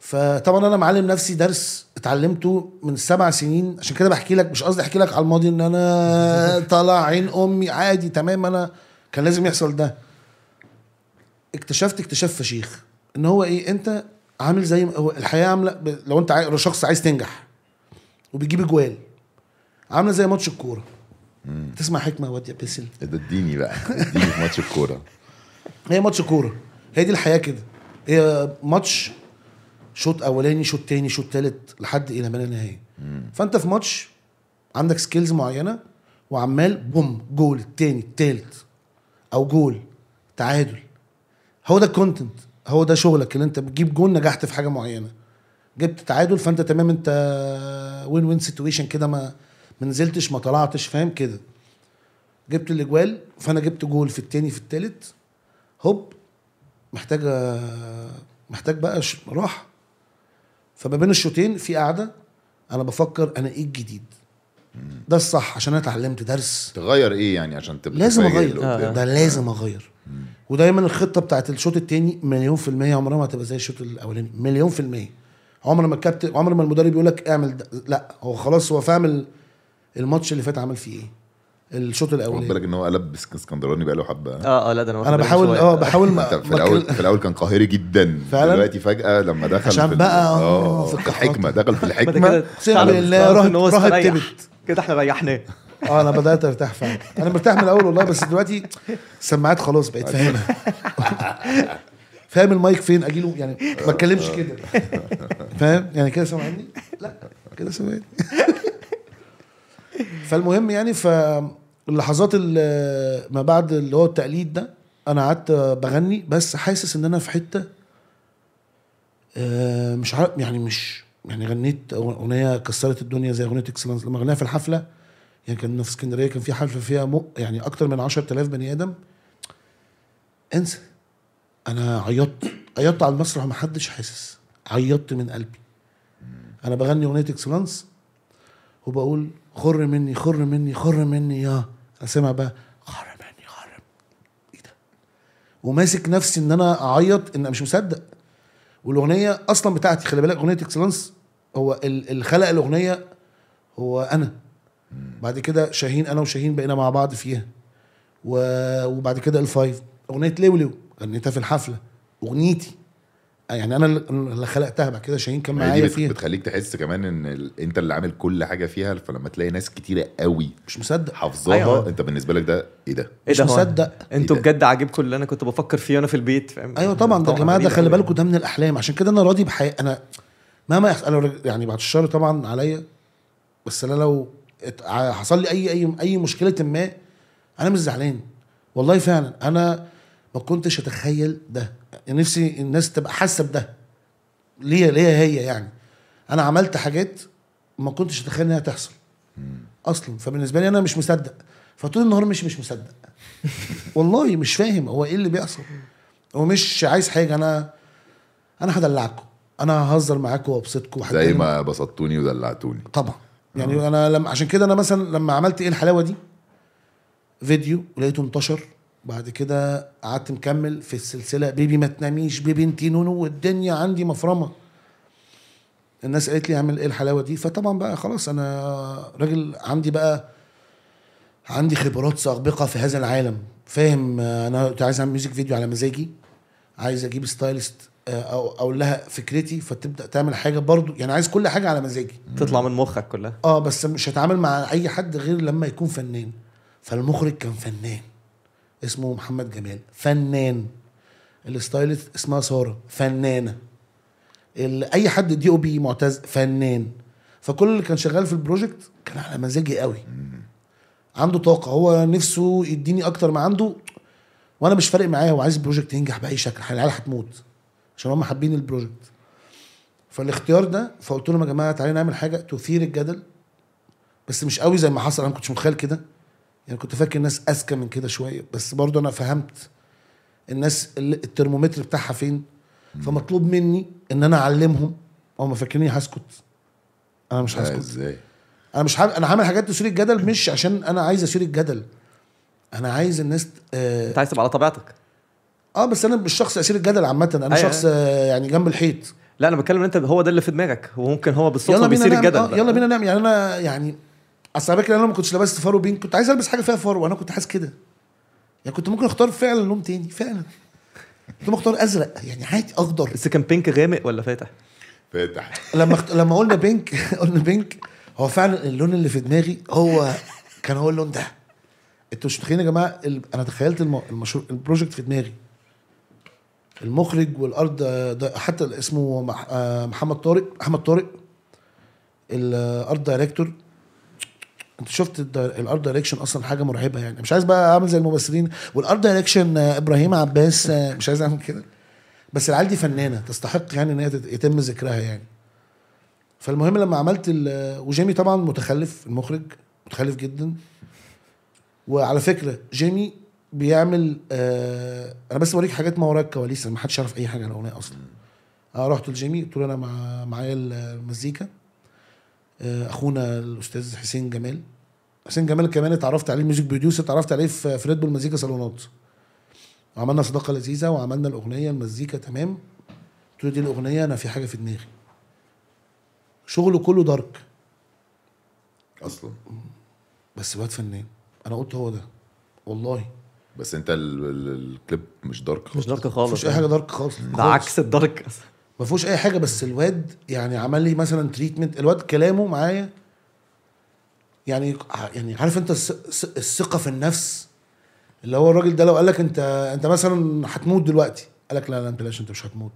[SPEAKER 3] فطبعا انا معلم نفسي درس اتعلمته من سبع سنين عشان كده بحكي لك مش قصدي احكي لك على الماضي ان انا طالع عين امي عادي تمام انا كان لازم يحصل ده اكتشفت اكتشاف فشيخ ان هو ايه انت عامل زي ما- هو الحياه عامله ب- لو انت عاي- لو شخص عايز تنجح وبيجيب جوال عامله زي ماتش الكوره تسمع حكمه يا واد يا باسل
[SPEAKER 1] إيه ده اديني بقى اديني في ماتش الكورة
[SPEAKER 3] هي ماتش كوره هي دي الحياه كده هي ماتش شوط اولاني شوط تاني شوط تالت لحد الى ما لا نهايه فانت في ماتش عندك سكيلز معينه وعمال بوم جول التاني التالت او جول تعادل هو ده الكونتنت هو ده شغلك اللي انت بتجيب جول نجحت في حاجه معينه جبت تعادل فانت تمام انت وين وين سيتويشن كده ما ما نزلتش ما طلعتش فاهم كده جبت الاجوال فانا جبت جول في التاني في التالت هوب محتاجه محتاج بقى ش- راحه فما بين الشوطين في قاعده انا بفكر انا ايه الجديد ده الصح عشان انا اتعلمت درس
[SPEAKER 1] تغير ايه يعني عشان تبقى
[SPEAKER 3] لازم
[SPEAKER 1] تفاجئ
[SPEAKER 3] اغير
[SPEAKER 1] اللي قدامك؟
[SPEAKER 3] ده لازم اغير ودايما الخطه بتاعت الشوط التاني مليون في الميه عمرها ما هتبقى زي الشوط الاولاني مليون في الميه عمر ما الكابتن عمر ما المدرب يقول لك اعمل ده لا هو خلاص هو فاهم ال- الماتش اللي فات عمل فيه ايه الشوط
[SPEAKER 1] خد
[SPEAKER 3] الاولاني
[SPEAKER 1] بالك ان هو قلب اسك- اسكندراني بقاله حبه ها؟
[SPEAKER 2] اه اه لا ده انا واخد
[SPEAKER 3] انا
[SPEAKER 2] بالي
[SPEAKER 3] بحاول
[SPEAKER 2] شوية.
[SPEAKER 3] اه بحاول
[SPEAKER 1] انت
[SPEAKER 3] ما
[SPEAKER 1] في
[SPEAKER 3] ما
[SPEAKER 1] الاول
[SPEAKER 3] أتكل-
[SPEAKER 1] في الاول كان قاهري جدا
[SPEAKER 3] فعلا؟
[SPEAKER 1] دلوقتي فجاه لما دخل
[SPEAKER 3] عشان
[SPEAKER 1] في ال-
[SPEAKER 3] بقى،
[SPEAKER 1] اه
[SPEAKER 3] آه، في
[SPEAKER 1] في الحكمه دخل في
[SPEAKER 2] بعد
[SPEAKER 1] الحكمه
[SPEAKER 2] كده
[SPEAKER 3] أقسم
[SPEAKER 2] خلاص،
[SPEAKER 3] بالله
[SPEAKER 2] خلاص
[SPEAKER 3] رحت-
[SPEAKER 2] إن هو
[SPEAKER 3] راحت
[SPEAKER 2] استريح.
[SPEAKER 3] تبت.
[SPEAKER 2] كده احنا ريحناه
[SPEAKER 3] اه انا بدات ارتاح فعلا انا مرتاح من الاول والله بس دلوقتي السماعات خلاص بقيت فاهمها فاهم المايك فين اجيله يعني ما اتكلمش كده فاهم يعني كده سامعني لا كده سامعني فالمهم يعني فاللحظات اللي ما بعد اللي هو التقليد ده انا قعدت بغني بس حاسس ان انا في حته آه، مش عارف يعني مش يعني غنيت أغ- اغنيه كسرت الدنيا زي اغنيه اكسلانس لما غنيها في الحفله يعني كان في اسكندريه كان في حفله فيها مو يعني اكتر من 10000 بني ادم انسى انا عيطت عيطت على المسرح ومحدش حاسس عيطت من قلبي انا بغني اغنيه اكسلانس وبقول خر مني خر مني خر مني يا اسمع بقى خر مني إيه خر مني. ايه ده وماسك نفسي ان انا اعيط ان أنا مش مصدق والاغنيه اصلا بتاعتي خلي بالك اغنيه اكسلانس هو ال- اللي خلق الاغنيه هو انا بعد كده شاهين انا وشاهين بقينا مع بعض فيها و- وبعد كده الفايف اغنيه لولو غنيتها في الحفله اغنيتي يعني انا اللي- اللي خلقتها بعد كده شاهين كان
[SPEAKER 1] ما هي دي
[SPEAKER 3] معايا
[SPEAKER 1] بت-
[SPEAKER 3] فيها
[SPEAKER 1] بتخليك تحس كمان ان ال... انت اللي عامل كل حاجه فيها فلما تلاقي ناس كتيره قوي
[SPEAKER 3] مش مصدق
[SPEAKER 1] حافظاها
[SPEAKER 2] أيوة.
[SPEAKER 1] أيوة. انت بالنسبه لك ده ايه ده
[SPEAKER 2] ايه
[SPEAKER 3] مش
[SPEAKER 2] ده هو؟
[SPEAKER 3] مصدق
[SPEAKER 2] انتوا
[SPEAKER 1] إيه
[SPEAKER 2] بجد عاجبكم اللي انا كنت بفكر فيه وانا في البيت فاهم
[SPEAKER 3] ايوه طبعا ده يا جماعه ده
[SPEAKER 2] غريبة
[SPEAKER 3] خلي
[SPEAKER 2] أوي.
[SPEAKER 3] بالكم ده من الاحلام عشان كده انا راضي بحياتي انا مهما يحصل أنا رج- يعني بعد الشر طبعا عليا بس انا لو ات- ع- حصل لي اي اي اي مشكله ما انا مش زعلان والله فعلا انا ما كنتش اتخيل ده يعني نفسي الناس تبقى حاسه بده ليا ليا هي يعني انا عملت حاجات ما كنتش اتخيل انها تحصل اصلا فبالنسبه لي انا مش مصدق فطول النهار مش مش مصدق والله مش فاهم هو ايه اللي بيحصل ومش عايز حاجه انا انا هدلعكم انا ههزر معاكم وابسطكم
[SPEAKER 1] زي
[SPEAKER 3] وهتكلم-
[SPEAKER 1] ما بسطتوني ودلعتوني
[SPEAKER 3] طبعا يعني انا لما عشان كده انا مثلا لما عملت ايه الحلاوه دي فيديو لقيته انتشر بعد كده قعدت مكمل في السلسله بيبي ما تناميش بيبي انت نونو والدنيا عندي مفرمه الناس قالت لي اعمل ايه الحلاوه دي فطبعا بقى خلاص انا راجل عندي بقى عندي خبرات سابقه في هذا العالم فاهم آه، انا كنت عايز اعمل ميوزك فيديو على مزاجي عايز اجيب ستايلست آه، او اقول لها فكرتي فتبدا تعمل حاجه برضو يعني عايز كل حاجه على مزاجي
[SPEAKER 2] تطلع من مخك كلها
[SPEAKER 3] اه بس مش هتعامل مع اي حد غير لما يكون فنان فالمخرج كان فنان اسمه محمد جمال فنان الستايلست اسمها ساره فنانه ال- اي حد دي او بي معتز فنان فكل اللي كان شغال في البروجكت كان على مزاجي قوي عنده طاقه هو نفسه يديني اكتر ما عنده وانا مش فارق معاه هو عايز البروجكت ينجح باي شكل العيال هتموت عشان هم حابين البروجكت فالاختيار ده فقلت لهم يا جماعه تعالى نعمل حاجه تثير الجدل بس مش قوي زي ما حصل انا ما كنتش متخيل كده يعني كنت فاكر الناس اذكى من كده شويه بس برضه انا فهمت الناس اللي- الترمومتر بتاعها فين فمطلوب مني ان انا اعلمهم هم فاكريني هسكت انا مش
[SPEAKER 1] ده
[SPEAKER 3] هسكت
[SPEAKER 1] ازاي
[SPEAKER 3] انا مش حابب انا هعمل حاجات تثير الجدل مش عشان انا عايز اثير الجدل انا عايز الناس آه
[SPEAKER 2] انت عايز تبقى على طبيعتك
[SPEAKER 3] اه بس انا مش شخص اثير الجدل عامه انا
[SPEAKER 2] أيوة.
[SPEAKER 3] شخص آه يعني جنب الحيط
[SPEAKER 2] لا انا بتكلم إن انت هو ده اللي في دماغك وممكن هو بالصدفه
[SPEAKER 3] يلا بينا
[SPEAKER 2] بيصير
[SPEAKER 3] نعمل
[SPEAKER 2] الجدل
[SPEAKER 3] آه
[SPEAKER 2] بقى.
[SPEAKER 3] يلا بينا نعمل يعني انا يعني اصل على فكره انا ما كنتش لبست فارو بين كنت عايز البس حاجه فيها فارو انا كنت حاسس كده يعني كنت ممكن اختار فعلا لون تاني فعلا كنت ممكن اختار ازرق يعني عادي اخضر
[SPEAKER 2] بس كان بينك غامق ولا فاتح؟
[SPEAKER 1] فاتح
[SPEAKER 3] لما اخت... لما قلنا بينك قلنا بينك هو فعلا اللون اللي في دماغي هو كان هو اللون ده انتوا مش متخيلين يا جماعه ال... انا تخيلت الم... المشروع البروجكت في دماغي المخرج والارض ده حتى اسمه مح... آه، محمد طارق احمد طارق الارت دايركتور انت شفت الد- الارت دايركشن اصلا حاجه مرعبه يعني مش عايز بقى اعمل زي الممثلين والارت دايركشن آه، ابراهيم عباس آه، مش عايز اعمل كده بس العيال دي فنانه تستحق يعني ان هي تت- يتم ذكرها يعني فالمهم لما عملت ال- وجيمي طبعا متخلف المخرج متخلف جدا وعلى فكره جيمي بيعمل آه انا بس بوريك حاجات ما وراء الكواليس ما حدش يعرف اي حاجه عن الاغنيه اصلا آه رحت لجيمي قلت له انا مع معايا المزيكا آه اخونا الاستاذ حسين جمال حسين جمال كمان اتعرفت عليه ميوزك بروديوسر اتعرفت عليه في في ريد بول مزيكا صالونات وعملنا صداقه لذيذه وعملنا الاغنيه المزيكا تمام قلت له دي الاغنيه انا في حاجه في دماغي شغله كله دارك
[SPEAKER 1] اصلا
[SPEAKER 3] بس واد فنان انا قلت هو ده والله
[SPEAKER 1] بس انت ال... ال... الكليب مش دارك خالص
[SPEAKER 2] مش دارك
[SPEAKER 3] ما
[SPEAKER 2] خالص يعني.
[SPEAKER 3] فيهوش اي حاجه دارك خالص
[SPEAKER 2] ده
[SPEAKER 3] خالص.
[SPEAKER 2] عكس الدارك أصلاً.
[SPEAKER 3] ما فيهوش اي حاجه بس الواد يعني عمل لي مثلا تريتمنت الواد كلامه معايا يعني يعني عارف انت الث- الث- الثقه في النفس اللي هو الراجل ده لو قال لك انت انت مثلا هتموت دلوقتي قال لك لا لا انت بلاش انت مش هتموت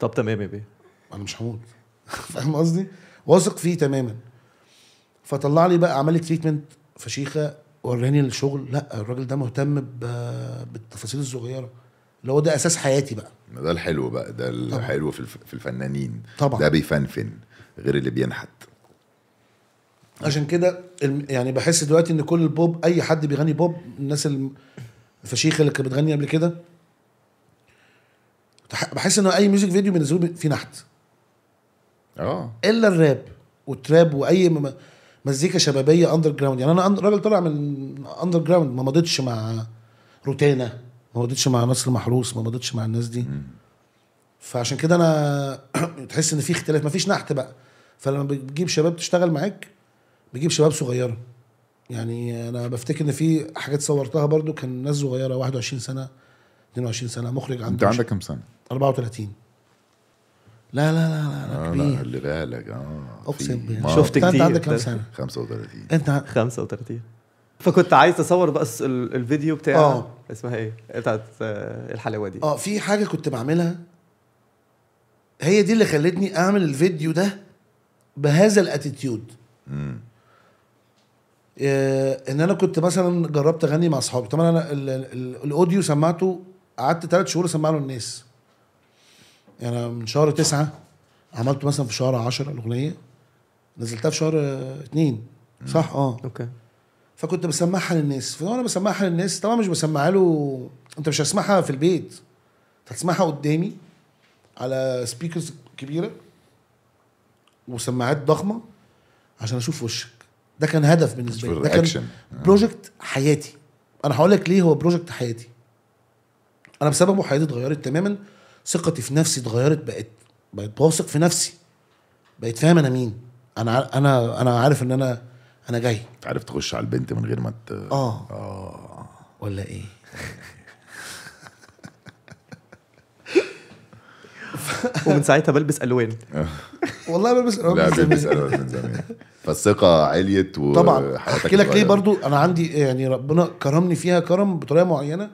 [SPEAKER 2] طب تمام يا بيه
[SPEAKER 3] انا مش هموت فاهم قصدي واثق فيه تماما فطلع لي بقى عمل لي تريتمنت فشيخه وراني الشغل لا الراجل ده مهتم ب- بالتفاصيل الصغيره اللي هو ده اساس حياتي بقى
[SPEAKER 1] ما ده الحلو بقى ده الحلو في, الف... في الفنانين
[SPEAKER 3] طبعا.
[SPEAKER 1] ده بيفنفن غير اللي بينحت
[SPEAKER 3] عشان كده الم- يعني بحس دلوقتي ان كل البوب اي حد بيغني بوب الناس الم- الفشيخه اللي كانت بتغني قبل كده تح- بحس ان اي ميوزك فيديو بينزلوه بي- فيه نحت
[SPEAKER 1] اه
[SPEAKER 3] الا الراب والتراب واي م- مزيكا شبابيه اندر جراوند يعني انا أن- راجل طالع من اندر جراوند ما مضيتش مع روتانا ما مضيتش مع نصر محروس ما مضيتش مع الناس دي فعشان كده انا تحس ان في اختلاف مفيش نحت بقى فلما بتجيب شباب تشتغل معاك بجيب شباب صغيره يعني انا بفتكر ان في حاجات صورتها برضو كان ناس صغيره 21 سنه 22 سنه مخرج
[SPEAKER 1] انت
[SPEAKER 3] عنده
[SPEAKER 1] عندك كام سنه؟
[SPEAKER 3] 34 لا لا لا لا,
[SPEAKER 1] آه
[SPEAKER 3] لا
[SPEAKER 1] لا
[SPEAKER 3] كبير
[SPEAKER 1] خلي بالك اه
[SPEAKER 3] اقسم
[SPEAKER 1] في-
[SPEAKER 3] بالله
[SPEAKER 1] ما-
[SPEAKER 2] شفت
[SPEAKER 3] انت
[SPEAKER 2] كتير
[SPEAKER 3] عندك كام
[SPEAKER 2] ده.
[SPEAKER 3] سنه
[SPEAKER 1] 35
[SPEAKER 3] انت ع-
[SPEAKER 2] 35 فكنت عايز اصور بقى الس- ال- الفيديو بتاع
[SPEAKER 3] آه.
[SPEAKER 2] اسمها ايه بتاعت آه، الحلاوه دي
[SPEAKER 3] اه في حاجه كنت بعملها هي دي اللي خلتني اعمل الفيديو ده بهذا الاتيتيود
[SPEAKER 1] مم.
[SPEAKER 3] آه، ان انا كنت مثلا جربت اغني مع اصحابي طبعا انا ال- ال- الاوديو سمعته قعدت ثلاث شهور اسمعه للناس يعني أنا من شهر تسعة عملته مثلا في شهر عشرة الاغنيه نزلتها في شهر آه، اتنين صح اه
[SPEAKER 2] اوكي
[SPEAKER 3] فكنت بسمعها للناس فانا بسمعها للناس طبعا مش بسمعها له انت مش هتسمعها في البيت أنت هتسمعها قدامي على سبيكرز كبيره وسماعات ضخمه عشان اشوف وشك ده كان هدف بالنسبه لي
[SPEAKER 1] تشوف
[SPEAKER 3] ده كان
[SPEAKER 1] الرياكشن. آه.
[SPEAKER 3] بروجكت حياتي انا هقول لك ليه هو بروجكت حياتي انا بسببه حياتي اتغيرت تماما ثقتي في نفسي اتغيرت بقت بقت واثق في نفسي بقيت فاهم انا مين انا ع- انا انا عارف ان انا انا جاي
[SPEAKER 1] انت عارف تخش على البنت من غير ما ت...
[SPEAKER 3] اه
[SPEAKER 1] آه.
[SPEAKER 3] ولا ايه
[SPEAKER 2] ومن ساعتها بلبس الوان
[SPEAKER 3] والله بلبس
[SPEAKER 1] لا
[SPEAKER 3] بلبس-
[SPEAKER 1] بيسألوا من زمان فالثقه عليت و
[SPEAKER 3] طبعا
[SPEAKER 1] حياتك
[SPEAKER 3] احكي لك ليه
[SPEAKER 1] اتغيرت.
[SPEAKER 3] برضو انا عندي يعني ربنا كرمني فيها كرم بطريقه معينه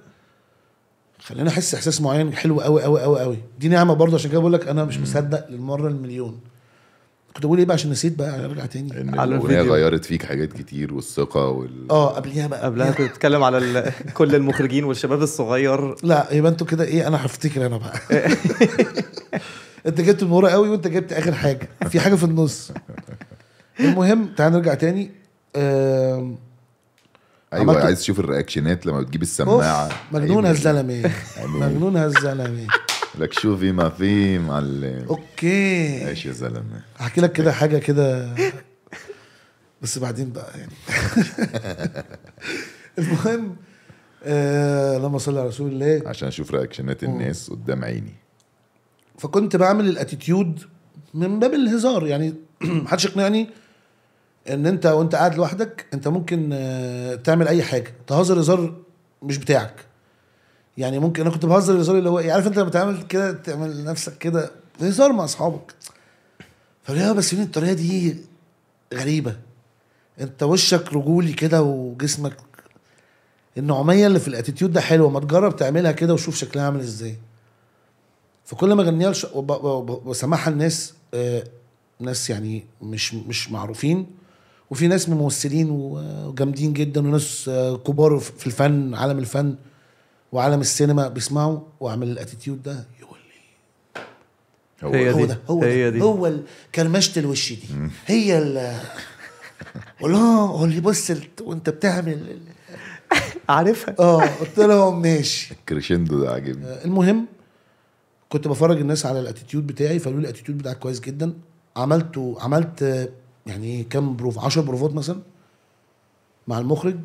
[SPEAKER 3] خلاني احس احساس معين حلو قوي قوي قوي قوي دي نعمه برضو عشان كده بقول لك انا مش مصدق للمره المليون كنت بقول ايه بقى عشان نسيت بقى ارجع تاني
[SPEAKER 1] ان
[SPEAKER 2] على
[SPEAKER 1] الاغنيه
[SPEAKER 2] الفيديو.
[SPEAKER 1] غيرت فيك حاجات كتير والثقه وال
[SPEAKER 3] اه قبليها بقى
[SPEAKER 2] قبلها كنت بتتكلم على ال- كل المخرجين والشباب الصغير
[SPEAKER 3] لا يبقى انتوا كده ايه انا هفتكر انا بقى انت جبت من ورا قوي وانت جبت اخر حاجه في حاجه في النص المهم تعال نرجع تاني آم،
[SPEAKER 1] ايوه
[SPEAKER 3] عملت-
[SPEAKER 1] عايز تشوف الرياكشنات لما بتجيب السماعه
[SPEAKER 3] أوف، مجنون
[SPEAKER 1] أيوة.
[SPEAKER 3] هالزلمه
[SPEAKER 1] عيني.
[SPEAKER 3] مجنون هالزلمه
[SPEAKER 1] لك شوفي ما في معلم
[SPEAKER 3] اوكي
[SPEAKER 1] ماشي يا زلمه
[SPEAKER 3] هحكي لك كده حاجه كده بس بعدين بقى يعني المهم آه اللهم صل على رسول الله
[SPEAKER 1] عشان اشوف رياكشنات الناس قدام عيني
[SPEAKER 3] فكنت بعمل الاتيتيود من باب الهزار يعني محدش يقنعني ان انت وانت قاعد لوحدك انت ممكن آه، تعمل اي حاجه تهزر هزار مش بتاعك يعني ممكن انا كنت بهزر هزار اللي هو إيه، عارف انت لما تعمل كده تعمل نفسك كده هزار مع اصحابك فليه "آه، بس فين الطريقه دي غريبه انت وشك رجولي كده وجسمك النعوميه اللي في الاتيتيود ده حلوه ما تجرب تعملها كده وشوف شكلها عامل ازاي فكل ما اغنيها لش... وب... وب... وسمعها الناس آه... ناس يعني مش مش معروفين وفي ناس ممثلين و- وجامدين جدا وناس آه، كبار في في الفن عالم الفن وعالم السينما بيسمعوا واعمل الاتيتيود ده يقول
[SPEAKER 1] هو
[SPEAKER 2] هي
[SPEAKER 1] ده.
[SPEAKER 2] دي.
[SPEAKER 3] هو ده هو
[SPEAKER 2] هي
[SPEAKER 3] ده
[SPEAKER 2] دي.
[SPEAKER 3] هو ال- كرمشة الوش دي هي ال قول لهم قول لي بص ال- وانت بتعمل ال-
[SPEAKER 2] عارفها
[SPEAKER 3] اه قلت لهم ماشي
[SPEAKER 1] الكريشندو ده عاجبني
[SPEAKER 3] المهم كنت بفرج الناس على الاتيتيود بتاعي فقالوا لي الاتيتيود بتاعك كويس جدا عملته عملت آه، يعني ايه كام بروف 10 بروفات مثلا مع المخرج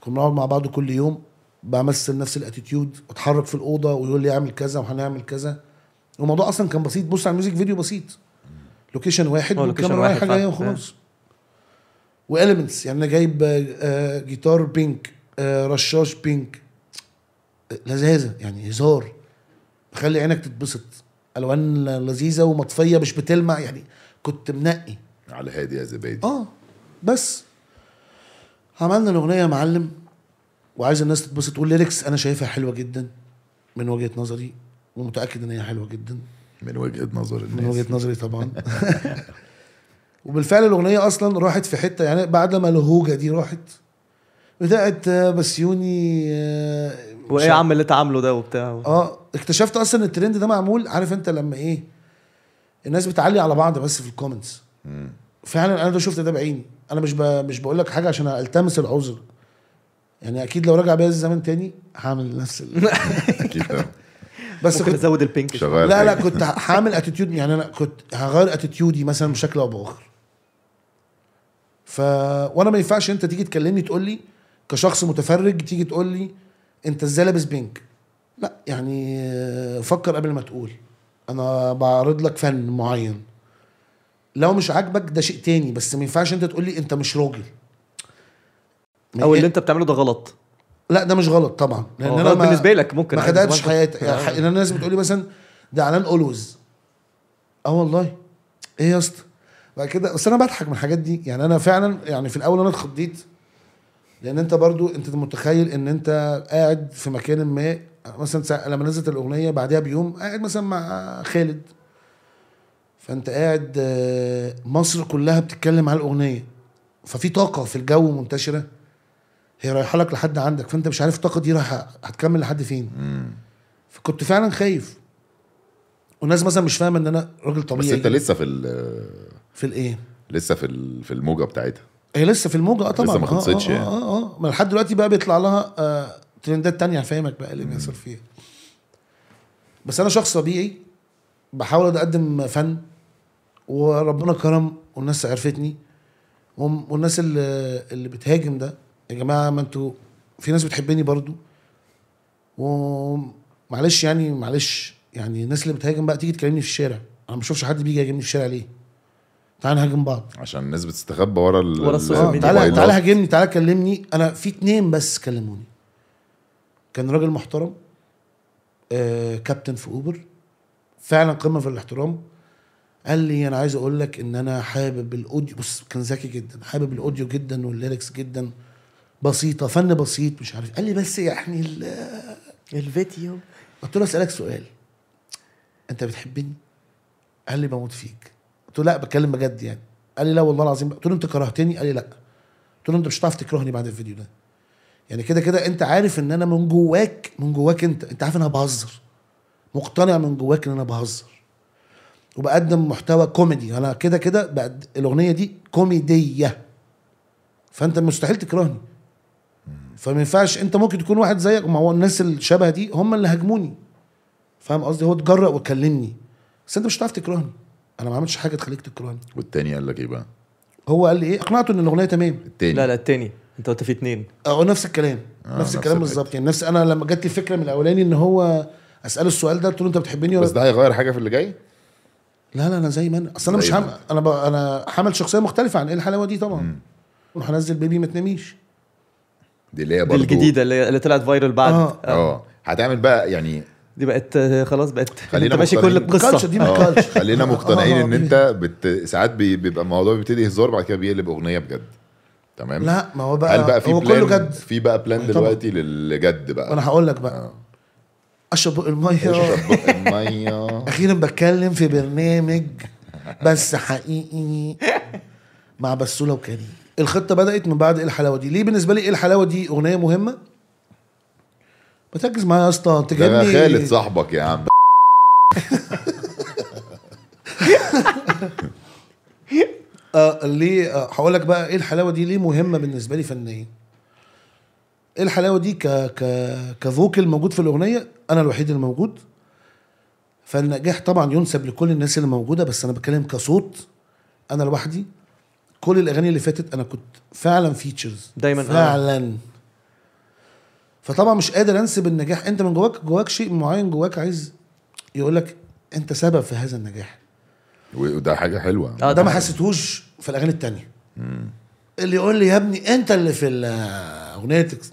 [SPEAKER 3] كنا بنقعد مع بعض كل يوم بمثل نفس الاتيتيود اتحرك في الاوضه ويقول لي اعمل كذا وهنعمل كذا الموضوع اصلا كان بسيط بص على الميوزك فيديو بسيط لوكيشن واحد
[SPEAKER 2] هو لوكيشن
[SPEAKER 3] والكاميرا
[SPEAKER 2] واحد
[SPEAKER 3] واحد
[SPEAKER 2] فعلا.
[SPEAKER 3] جايه وخلاص واليمنتس يعني انا جايب آه، آه، جيتار بينك آه، رشاش بينك آه، لذاذه يعني هزار بخلي عينك تتبسط الوان لذيذه ومطفيه مش بتلمع يعني كنت منقي
[SPEAKER 1] على هادي يا زبادي
[SPEAKER 3] اه بس عملنا الاغنيه يا معلم وعايز الناس تتبسط والليركس انا شايفها حلوه جدا من وجهه نظري ومتاكد ان هي حلوه جدا
[SPEAKER 1] من وجهه نظر
[SPEAKER 3] من
[SPEAKER 1] الناس
[SPEAKER 3] وجهه نظري طبعا وبالفعل الاغنيه اصلا راحت في حته يعني بعد ما الهوجه دي راحت بدات آه، بسيوني آه، مش
[SPEAKER 2] وايه يا عم اللي انت عامله ده وبتاع
[SPEAKER 3] اه اكتشفت اصلا ان الترند ده معمول عارف انت لما ايه الناس بتعلي على بعض بس في الكومنتس فعلا انا ده شفت ده بعيني انا مش ب... مش بقول لك حاجه عشان التمس العذر يعني اكيد لو رجع بيا الزمن تاني هعمل نفس ال...
[SPEAKER 1] اكيد طبعاً.
[SPEAKER 3] بس
[SPEAKER 2] ممكن
[SPEAKER 3] كنت
[SPEAKER 2] ازود البينك شوية.
[SPEAKER 1] شغال
[SPEAKER 3] لا لا
[SPEAKER 1] حاجة.
[SPEAKER 3] كنت هعمل اتيتيود يعني انا كنت هغير اتيتيودي مثلا بشكل او باخر ف وانا ما ينفعش انت تيجي تكلمني تقول لي كشخص متفرج تيجي تقول لي انت ازاي لابس بينك لا يعني آه، فكر قبل ما تقول انا بعرض لك فن معين لو مش عاجبك ده شيء تاني بس ما ينفعش انت تقول لي انت مش راجل من
[SPEAKER 2] او اللي
[SPEAKER 3] إيه؟
[SPEAKER 2] انت بتعمله ده غلط
[SPEAKER 3] لا ده مش غلط طبعا لان
[SPEAKER 2] هو
[SPEAKER 3] انا
[SPEAKER 2] غلط
[SPEAKER 3] ما-
[SPEAKER 2] بالنسبه لك ممكن
[SPEAKER 3] ما
[SPEAKER 2] عادي، آه.
[SPEAKER 3] خدعتش
[SPEAKER 2] بس-
[SPEAKER 3] حياتي يعني ح- ان الناس بتقولي مثلا ده اعلان اولويز اه والله ايه يا اسطى بعد كده بس انا بضحك من الحاجات دي يعني انا فعلا يعني في الاول انا اتخضيت لان انت برضو انت متخيل ان انت قاعد في مكان ما مثلا سا- لما نزلت الاغنيه بعدها بيوم قاعد مثلا مع خالد فانت قاعد آه، مصر كلها بتتكلم على الاغنيه ففي طاقه في الجو منتشره هي رايحه لك لحد عندك فانت مش عارف الطاقه دي رايحه هتكمل لحد فين فكنت فعلا خايف والناس مثلا مش فاهمه ان انا راجل
[SPEAKER 1] بس
[SPEAKER 3] طبيعي
[SPEAKER 1] انت لسه في ال-
[SPEAKER 3] في الايه
[SPEAKER 1] لسه في ال- في الموجه بتاعتها
[SPEAKER 3] هي لسه في الموجه اه
[SPEAKER 1] لسه
[SPEAKER 3] طبعا
[SPEAKER 1] ما خلصتش
[SPEAKER 3] اه
[SPEAKER 1] يعني.
[SPEAKER 3] اه اه, آه. ما لحد دلوقتي بقى بيطلع لها آه ترندات تانية هفهمك بقى إيه اللي بيحصل فيها بس انا شخص طبيعي بحاول اقدم فن وربنا كرم والناس عرفتني وم- والناس اللي, اللي بتهاجم ده يا جماعه ما انتوا في ناس بتحبني برضو ومعلش يعني معلش يعني الناس اللي بتهاجم بقى تيجي تكلمني في الشارع انا ما بشوفش حد بيجي يهاجمني في الشارع ليه تعال نهاجم بعض
[SPEAKER 1] عشان الناس بتستخبى ورا ال
[SPEAKER 2] ورا
[SPEAKER 1] ال-
[SPEAKER 2] السوشيال
[SPEAKER 1] الموبايلات.
[SPEAKER 2] ميديا.
[SPEAKER 3] آه، تعالى تعالى هاجمني تعالى كلمني انا في اتنين بس كلموني كان راجل محترم آه كابتن في اوبر فعلا قمه في الاحترام قال لي انا عايز اقول لك ان انا حابب الاوديو بص كان ذكي جدا حابب الاوديو جدا والليركس جدا بسيطه فن بسيط مش عارف قال لي بس يعني ال-
[SPEAKER 2] الفيديو
[SPEAKER 3] قلت له اسالك سؤال انت بتحبني قال لي بموت فيك قلت له لا بتكلم بجد يعني قال لي لا والله العظيم قلت له انت كرهتني قال لي لا قلت له انت مش هتعرف تكرهني بعد الفيديو ده يعني كده كده انت عارف ان انا من جواك من جواك انت انت عارف ان انا بهزر مقتنع من جواك ان انا بهزر وبقدم محتوى كوميدي انا كده كده بقد... الاغنيه دي كوميديه فانت مستحيل تكرهني فما ينفعش انت ممكن تكون واحد زيك ما هو الناس الشبه دي هم اللي هاجموني فاهم قصدي هو اتجرأ وكلمني بس انت مش هتعرف تكرهني انا ما عملتش حاجه تخليك تكرهني
[SPEAKER 1] والتاني قال لك ايه بقى؟
[SPEAKER 3] هو قال لي ايه اقنعته ان الاغنيه تمام
[SPEAKER 1] التاني
[SPEAKER 2] لا لا التاني انت قلت في اتنين
[SPEAKER 3] اه نفس الكلام
[SPEAKER 1] آه،
[SPEAKER 3] آه
[SPEAKER 1] نفس
[SPEAKER 3] نفس الكلام
[SPEAKER 1] الحتة.
[SPEAKER 3] بالظبط يعني نفس انا لما جت لي فكره من الاولاني ان هو اساله السؤال ده قلت له انت بتحبني ولا
[SPEAKER 1] بس ده هيغير حاجه في اللي جاي؟
[SPEAKER 3] لا لا انا زي ما انا اصل انا
[SPEAKER 1] زي
[SPEAKER 3] مش
[SPEAKER 1] ما
[SPEAKER 3] حامل انا ب... انا حامل شخصيه مختلفه عن ايه الحلاوه دي طبعا وهنزل بيبي ما تناميش
[SPEAKER 1] دي اللي هي
[SPEAKER 2] دي
[SPEAKER 1] برضه
[SPEAKER 2] الجديده اللي, اللي طلعت فايرال بعد
[SPEAKER 3] آه.
[SPEAKER 1] اه هتعمل بقى يعني
[SPEAKER 2] دي بقت آه، خلاص بقت
[SPEAKER 1] خلينا
[SPEAKER 2] انت ماشي كل
[SPEAKER 1] مختارين.
[SPEAKER 3] الكالتشر
[SPEAKER 2] القصه
[SPEAKER 3] دي
[SPEAKER 1] آه،
[SPEAKER 3] ما
[SPEAKER 1] خلينا مقتنعين
[SPEAKER 3] آه، آه،
[SPEAKER 1] ان
[SPEAKER 3] بيبي.
[SPEAKER 1] انت بت... ساعات بي... بيبقى الموضوع بيبتدي هزار بعد كده بيقلب اغنيه بجد تمام
[SPEAKER 3] لا ما هو بقى,
[SPEAKER 1] هل بقى في
[SPEAKER 3] هو
[SPEAKER 1] بلان
[SPEAKER 3] كله جد
[SPEAKER 1] في بقى بلان
[SPEAKER 3] طبعا.
[SPEAKER 1] دلوقتي للجد
[SPEAKER 3] ما انا
[SPEAKER 1] بقى
[SPEAKER 3] هقول لك بقى
[SPEAKER 1] آه.
[SPEAKER 3] اشرب بق الميه
[SPEAKER 1] اشرب بق الميه
[SPEAKER 3] اخيرا بتكلم في برنامج بس حقيقي مع بسوله وكريم الخطه بدات من بعد ايه الحلاوه دي ليه بالنسبه لي ايه الحلاوه دي اغنيه مهمه بتركز معايا يا اسطى
[SPEAKER 1] ده أنا
[SPEAKER 3] تجني
[SPEAKER 1] خالد صاحبك يا عم
[SPEAKER 3] آه ليه آه، هقول لك بقى ايه الحلاوه دي ليه مهمه بالنسبه لي فنيا ايه الحلاوه دي ك ك كفوكل موجود في الاغنيه انا الوحيد اللي موجود فالنجاح طبعا ينسب لكل الناس اللي موجوده بس انا بتكلم كصوت انا لوحدي كل الاغاني اللي فاتت انا كنت فعلا فيتشرز
[SPEAKER 2] دايماً، آه.
[SPEAKER 3] فعلا فطبعا مش قادر انسب النجاح انت من جواك جواك شيء معين جواك عايز يقول لك انت سبب في هذا النجاح
[SPEAKER 1] وده حاجه حلوه
[SPEAKER 2] آه،
[SPEAKER 3] ده ما
[SPEAKER 2] طبعاً.
[SPEAKER 3] حسيتهوش في الاغاني التانية اللي يقول لي يا ابني انت اللي في الاغنيه تكس-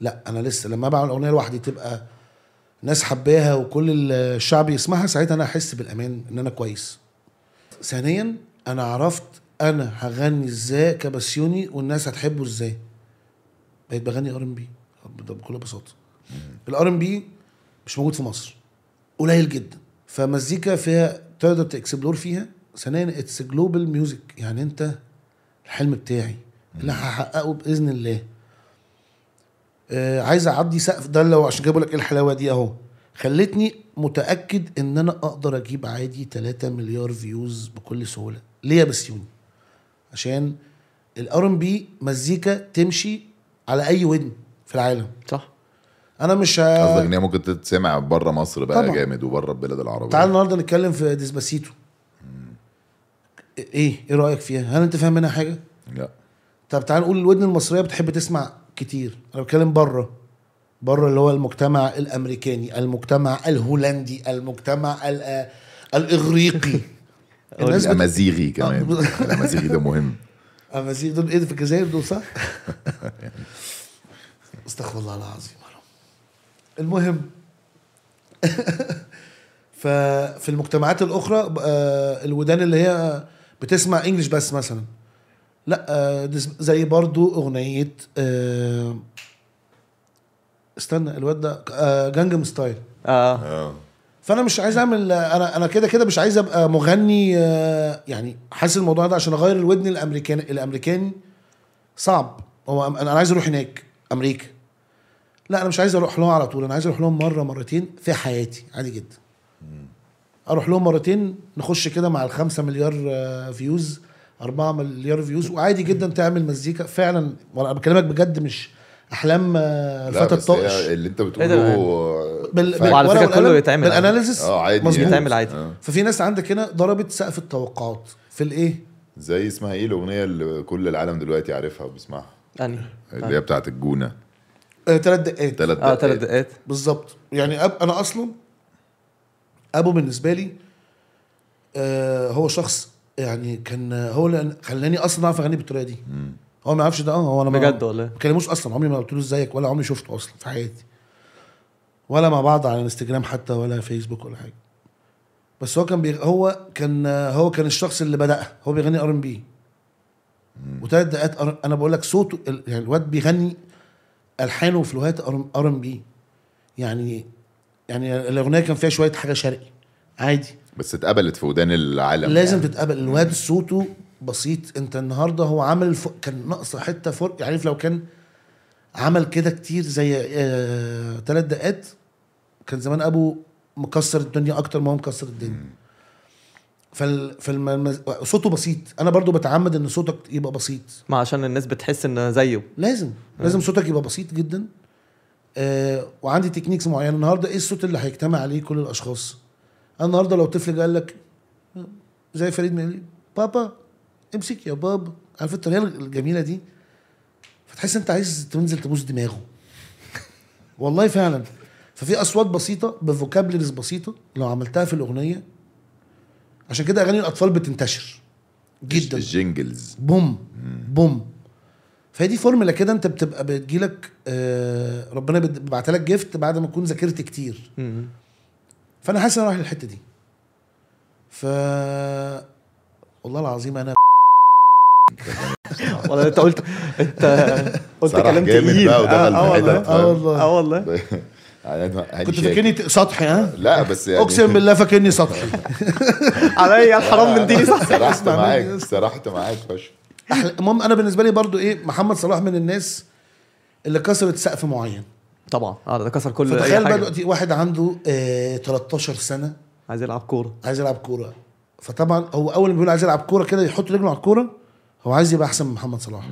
[SPEAKER 3] لا انا لسه لما بعمل اغنيه لوحدي تبقى ناس حباها وكل الشعب يسمعها ساعتها انا احس بالامان ان انا كويس ثانيا انا عرفت انا هغني ازاي كبسيوني والناس هتحبه ازاي بقيت بغني ار ام بي بكل بساطه الار ام بي مش موجود في مصر قليل جدا فمزيكا فيها تقدر تكسبلور فيها ثانيا اتس جلوبال ميوزك يعني انت الحلم بتاعي اللي هحققه باذن الله آه عايز اعدي سقف ده لو عشان جابوا لك ايه الحلاوه دي اهو خلتني متاكد ان انا اقدر اجيب عادي 3 مليار فيوز بكل سهوله ليه يا بسيوني عشان الار ام بي مزيكا تمشي على اي ودن في العالم
[SPEAKER 2] صح
[SPEAKER 3] انا مش ه-
[SPEAKER 1] قصدك ان هي ممكن تتسمع بره مصر بقى
[SPEAKER 3] آه. طبعاً.
[SPEAKER 1] جامد وبره البلاد العربيه
[SPEAKER 3] تعال النهارده نتكلم في ديسباسيتو ايه ايه رايك فيها هل انت فاهم منها حاجه
[SPEAKER 1] لا
[SPEAKER 3] طب تعال نقول الودن المصريه بتحب تسمع كتير انا بتكلم بره بره اللي هو المجتمع الامريكاني المجتمع الهولندي المجتمع ال- الاغريقي الناس بت...
[SPEAKER 1] الامازيغي كمان
[SPEAKER 3] آه.
[SPEAKER 1] الامازيغي ده مهم
[SPEAKER 3] امازيغ دول ايه ده في الجزائر دول صح؟ استغفر الله العظيم يا رب. المهم ففي المجتمعات الاخرى آه، الودان اللي هي بتسمع انجلش بس مثلا لا آه، دي اسم- زي برضو اغنيه آه، استنى الواد ده آه، جانجم ستايل
[SPEAKER 1] آه.
[SPEAKER 2] اه
[SPEAKER 3] آه. فانا مش عايز اعمل انا انا كده كده مش عايز ابقى مغني آه، يعني حاسس الموضوع ده عشان اغير الودن الامريكاني الامريكاني صعب هو أم- انا عايز اروح هناك امريكا لا انا مش عايز اروح لهم على طول انا عايز اروح لهم مره مرتين في حياتي عادي جدا اروح لهم مرتين نخش كده مع الخمسة مليار آه، فيوز أربعة مليار فيوز وعادي جدا تعمل مزيكا فعلا وأنا بكلمك بجد مش احلام آه،
[SPEAKER 1] لا
[SPEAKER 3] الفتى
[SPEAKER 1] بس هي
[SPEAKER 3] الطائش
[SPEAKER 1] اللي انت
[SPEAKER 2] إيه
[SPEAKER 1] بتقوله
[SPEAKER 2] ده؟
[SPEAKER 1] آه،
[SPEAKER 3] بال...
[SPEAKER 1] فعلا.
[SPEAKER 2] وعلى
[SPEAKER 3] بالورقة
[SPEAKER 2] فكرة كله
[SPEAKER 3] والقلم،
[SPEAKER 2] يتعمل عادي.
[SPEAKER 3] بالاناليسيس
[SPEAKER 1] اه عادي
[SPEAKER 3] مظبوط.
[SPEAKER 2] يتعمل عادي.
[SPEAKER 1] آه.
[SPEAKER 3] ففي ناس عندك هنا ضربت سقف التوقعات في الايه؟
[SPEAKER 1] زي اسمها ايه الاغنيه اللي كل العالم دلوقتي عارفها وبيسمعها
[SPEAKER 2] يعني
[SPEAKER 1] اللي هي بتاعت آه، الجونه
[SPEAKER 3] آه، تلات دقات
[SPEAKER 1] ثلاث
[SPEAKER 2] اه ثلاث
[SPEAKER 1] دقايق
[SPEAKER 2] دقات
[SPEAKER 3] بالظبط يعني أب... انا اصلا ابو بالنسبه لي آه هو شخص يعني كان هو اللي خلاني اصلا اعرف اغني بالطريقه دي هو ما يعرفش ده اه هو انا ما-
[SPEAKER 2] بجد والله
[SPEAKER 3] ما كلموش اصلا عمري ما قلت له ازيك ولا عمري شفته اصلا في حياتي ولا مع بعض على انستجرام حتى ولا فيسبوك ولا حاجه بس هو كان بيغ... هو كان هو كان الشخص اللي بدأها هو بيغني ار ام بي وثلاث دقات R- انا بقول لك صوته ال- يعني الواد بيغني الحان وفلوهات ار ام بي يعني يعني الاغنيه كان فيها شويه حاجه شرقي عادي
[SPEAKER 1] بس اتقبلت في ودان العالم
[SPEAKER 3] لازم
[SPEAKER 1] يعني.
[SPEAKER 3] تتقبل الواد صوته بسيط انت النهارده هو عمل ف... كان ناقصه حته فرق يعني عارف لو كان عمل كده كتير زي آه... تلات دقات كان زمان ابو مكسر الدنيا اكتر ما هو مكسر الدنيا فال... فالم... صوته بسيط انا برضو بتعمد ان صوتك يبقى بسيط
[SPEAKER 2] ما عشان الناس بتحس ان زيه
[SPEAKER 3] لازم لازم صوتك يبقى بسيط جدا آه وعندي تكنيكس معينه النهارده ايه الصوت اللي هيجتمع عليه كل الاشخاص انا النهارده لو طفل جه قال لك زي فريد مقلي بابا امسك يا بابا عارف الطريقه الجميله دي فتحس انت عايز تنزل تبوس دماغه والله فعلا ففي اصوات بسيطه بفوكابلريز بسيطه لو عملتها في الاغنيه عشان كده اغاني الاطفال بتنتشر جدا
[SPEAKER 1] الجينجلز
[SPEAKER 3] بوم بوم فهي دي فورمولا كده انت بتبقى بتجيلك آه ربنا بيبعت لك جيفت بعد ما تكون ذاكرت كتير
[SPEAKER 2] مم.
[SPEAKER 3] فانا حاسس ان انا رايح للحته دي ف والله العظيم انا
[SPEAKER 2] والله انت قلت انت قلت
[SPEAKER 1] صرح
[SPEAKER 2] كلام
[SPEAKER 1] جامد
[SPEAKER 2] تقيل
[SPEAKER 1] بقى ودخل في
[SPEAKER 2] اه والله
[SPEAKER 1] حتت.
[SPEAKER 3] اه والله
[SPEAKER 2] اه والله
[SPEAKER 1] يعني هاني
[SPEAKER 3] كنت
[SPEAKER 1] شاكر.
[SPEAKER 3] فاكرني سطحي ها
[SPEAKER 1] لا بس يعني
[SPEAKER 3] اقسم بالله فاكرني سطحي
[SPEAKER 2] عليا الحرام من ديني صح
[SPEAKER 1] سرحت
[SPEAKER 3] اسمع
[SPEAKER 1] معاك
[SPEAKER 3] مني.
[SPEAKER 1] سرحت معاك فشخ
[SPEAKER 3] أحلى- المهم انا بالنسبه لي برضو ايه محمد صلاح من الناس اللي كسرت سقف معين
[SPEAKER 2] طبعا اه ده كسر كل اي
[SPEAKER 3] فتخيل بقى
[SPEAKER 2] حاجه
[SPEAKER 3] دلوقتي واحد عنده آه 13 سنه
[SPEAKER 2] عايز يلعب كوره
[SPEAKER 3] عايز يلعب كوره فطبعا هو اول ما بيقول عايز يلعب كوره كده يحط رجله على الكوره هو عايز يبقى احسن من محمد صلاح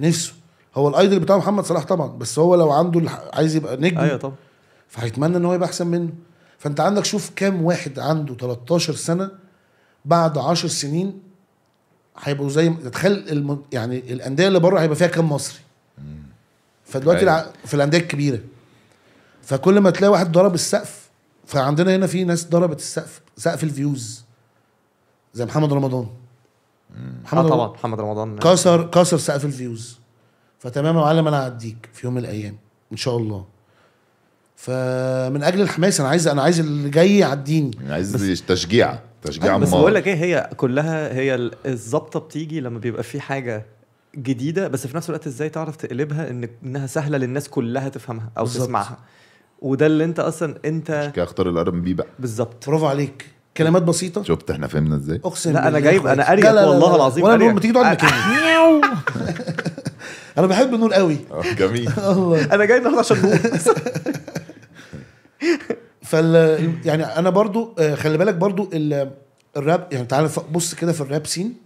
[SPEAKER 3] نفسه هو الايدل بتاع محمد صلاح طبعا بس هو لو عنده الح- عايز يبقى نجم
[SPEAKER 2] ايوه طبعا
[SPEAKER 3] فهيتمنى ان هو يبقى احسن منه فانت عندك شوف كام واحد عنده 13 سنه بعد 10 سنين هيبقوا زي تخيل الم... يعني الانديه اللي بره هيبقى فيها كام مصري فدلوقتي
[SPEAKER 1] أيوة.
[SPEAKER 3] الع... في الانديه الكبيره فكل ما تلاقي واحد ضرب السقف فعندنا هنا في ناس ضربت السقف سقف الفيوز زي محمد رمضان محمد
[SPEAKER 2] اه
[SPEAKER 3] رمضان
[SPEAKER 2] طبعا محمد رمضان
[SPEAKER 3] كسر كسر سقف الفيوز فتمام يا معلم انا هعديك في يوم من الايام ان شاء الله فمن اجل الحماس انا عايز انا عايز اللي جاي يعديني
[SPEAKER 1] يعني عايز تشجيع تشجيع
[SPEAKER 2] بس
[SPEAKER 1] عمار.
[SPEAKER 2] بقول لك ايه هي كلها هي ال- الظبطه بتيجي لما بيبقى في حاجه جديده بس في نفس الوقت ازاي تعرف تقلبها ان انها سهله للناس كلها تفهمها او
[SPEAKER 3] بالظبط.
[SPEAKER 2] تسمعها وده اللي انت اصلا انت
[SPEAKER 1] عشان كده اختار الار ام بي بقى
[SPEAKER 2] بالظبط
[SPEAKER 3] برافو عليك كلمات بسيطه
[SPEAKER 1] شفت احنا فهمنا ازاي
[SPEAKER 3] اقسم
[SPEAKER 2] لا انا
[SPEAKER 3] بالله يا
[SPEAKER 2] جايب انا
[SPEAKER 3] إخواتي.
[SPEAKER 2] قاري
[SPEAKER 3] لا، لا، لا،
[SPEAKER 2] والله
[SPEAKER 3] لا.
[SPEAKER 2] العظيم
[SPEAKER 3] ولا نور
[SPEAKER 2] قارية.
[SPEAKER 3] ما تيجي تقعد مكاني انا بحب نور قوي
[SPEAKER 1] آه، جميل
[SPEAKER 3] الله
[SPEAKER 2] انا جاي النهارده عشان نقول.
[SPEAKER 3] فال يعني انا برضو آه، خلي بالك برضو ال- الراب يعني تعال ف- بص كده في الراب سين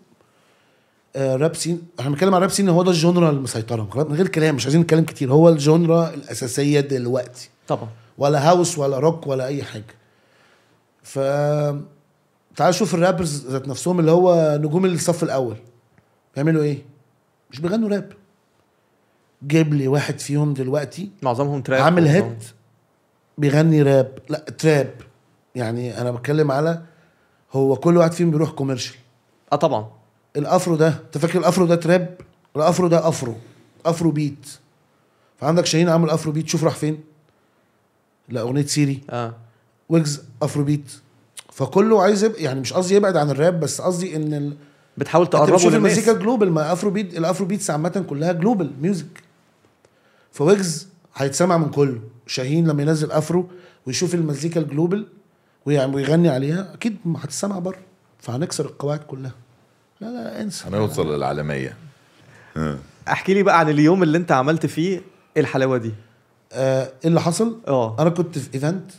[SPEAKER 3] آه، الراب سين احنا بنتكلم عن الراب سين هو ده الجونرا المسيطره خلاص، من غير كلام مش عايزين نتكلم كتير هو الجونرا الاساسيه دلوقتي
[SPEAKER 2] طبعا
[SPEAKER 3] ولا هاوس ولا روك ولا اي حاجه ف تعال شوف الرابرز ذات نفسهم اللي إيه؟ هو نجوم الصف الاول بيعملوا ايه مش بيغنوا راب جايب لي واحد فيهم دلوقتي
[SPEAKER 2] معظمهم تراب
[SPEAKER 3] عامل
[SPEAKER 2] معظمهم-
[SPEAKER 3] هيد بيغني راب لا تراب يعني انا بتكلم على هو كل واحد فيهم بيروح كوميرشال
[SPEAKER 2] اه طبعا
[SPEAKER 3] الافرو ده انت فاكر الافرو ده تراب الافرو ده افرو افرو بيت فعندك شاهين عامل افرو بيت شوف راح فين لا اغنيه سيري
[SPEAKER 2] اه
[SPEAKER 3] ويجز افرو بيت فكله عايز يبقى يعني مش قصدي يبعد عن الراب بس قصدي ان ال...
[SPEAKER 2] بتحاول
[SPEAKER 3] انت
[SPEAKER 2] تقربه
[SPEAKER 3] بتشوف
[SPEAKER 2] للناس
[SPEAKER 3] المزيكا جلوبال ما افرو بيت الافرو بيتس عامه كلها جلوبال ميوزك فويجز هيتسمع من كله شاهين لما ينزل افرو ويشوف المزيكا الجلوبال ويعني- ويغني عليها اكيد هتتسمع بره فهنكسر القواعد كلها لا لا انسى
[SPEAKER 1] هنوصل للعالميه
[SPEAKER 2] احكي لي بقى عن اليوم اللي انت عملت فيه الحلاوه دي
[SPEAKER 3] آه، ايه اللي حصل
[SPEAKER 2] اه
[SPEAKER 3] انا كنت في ايفنت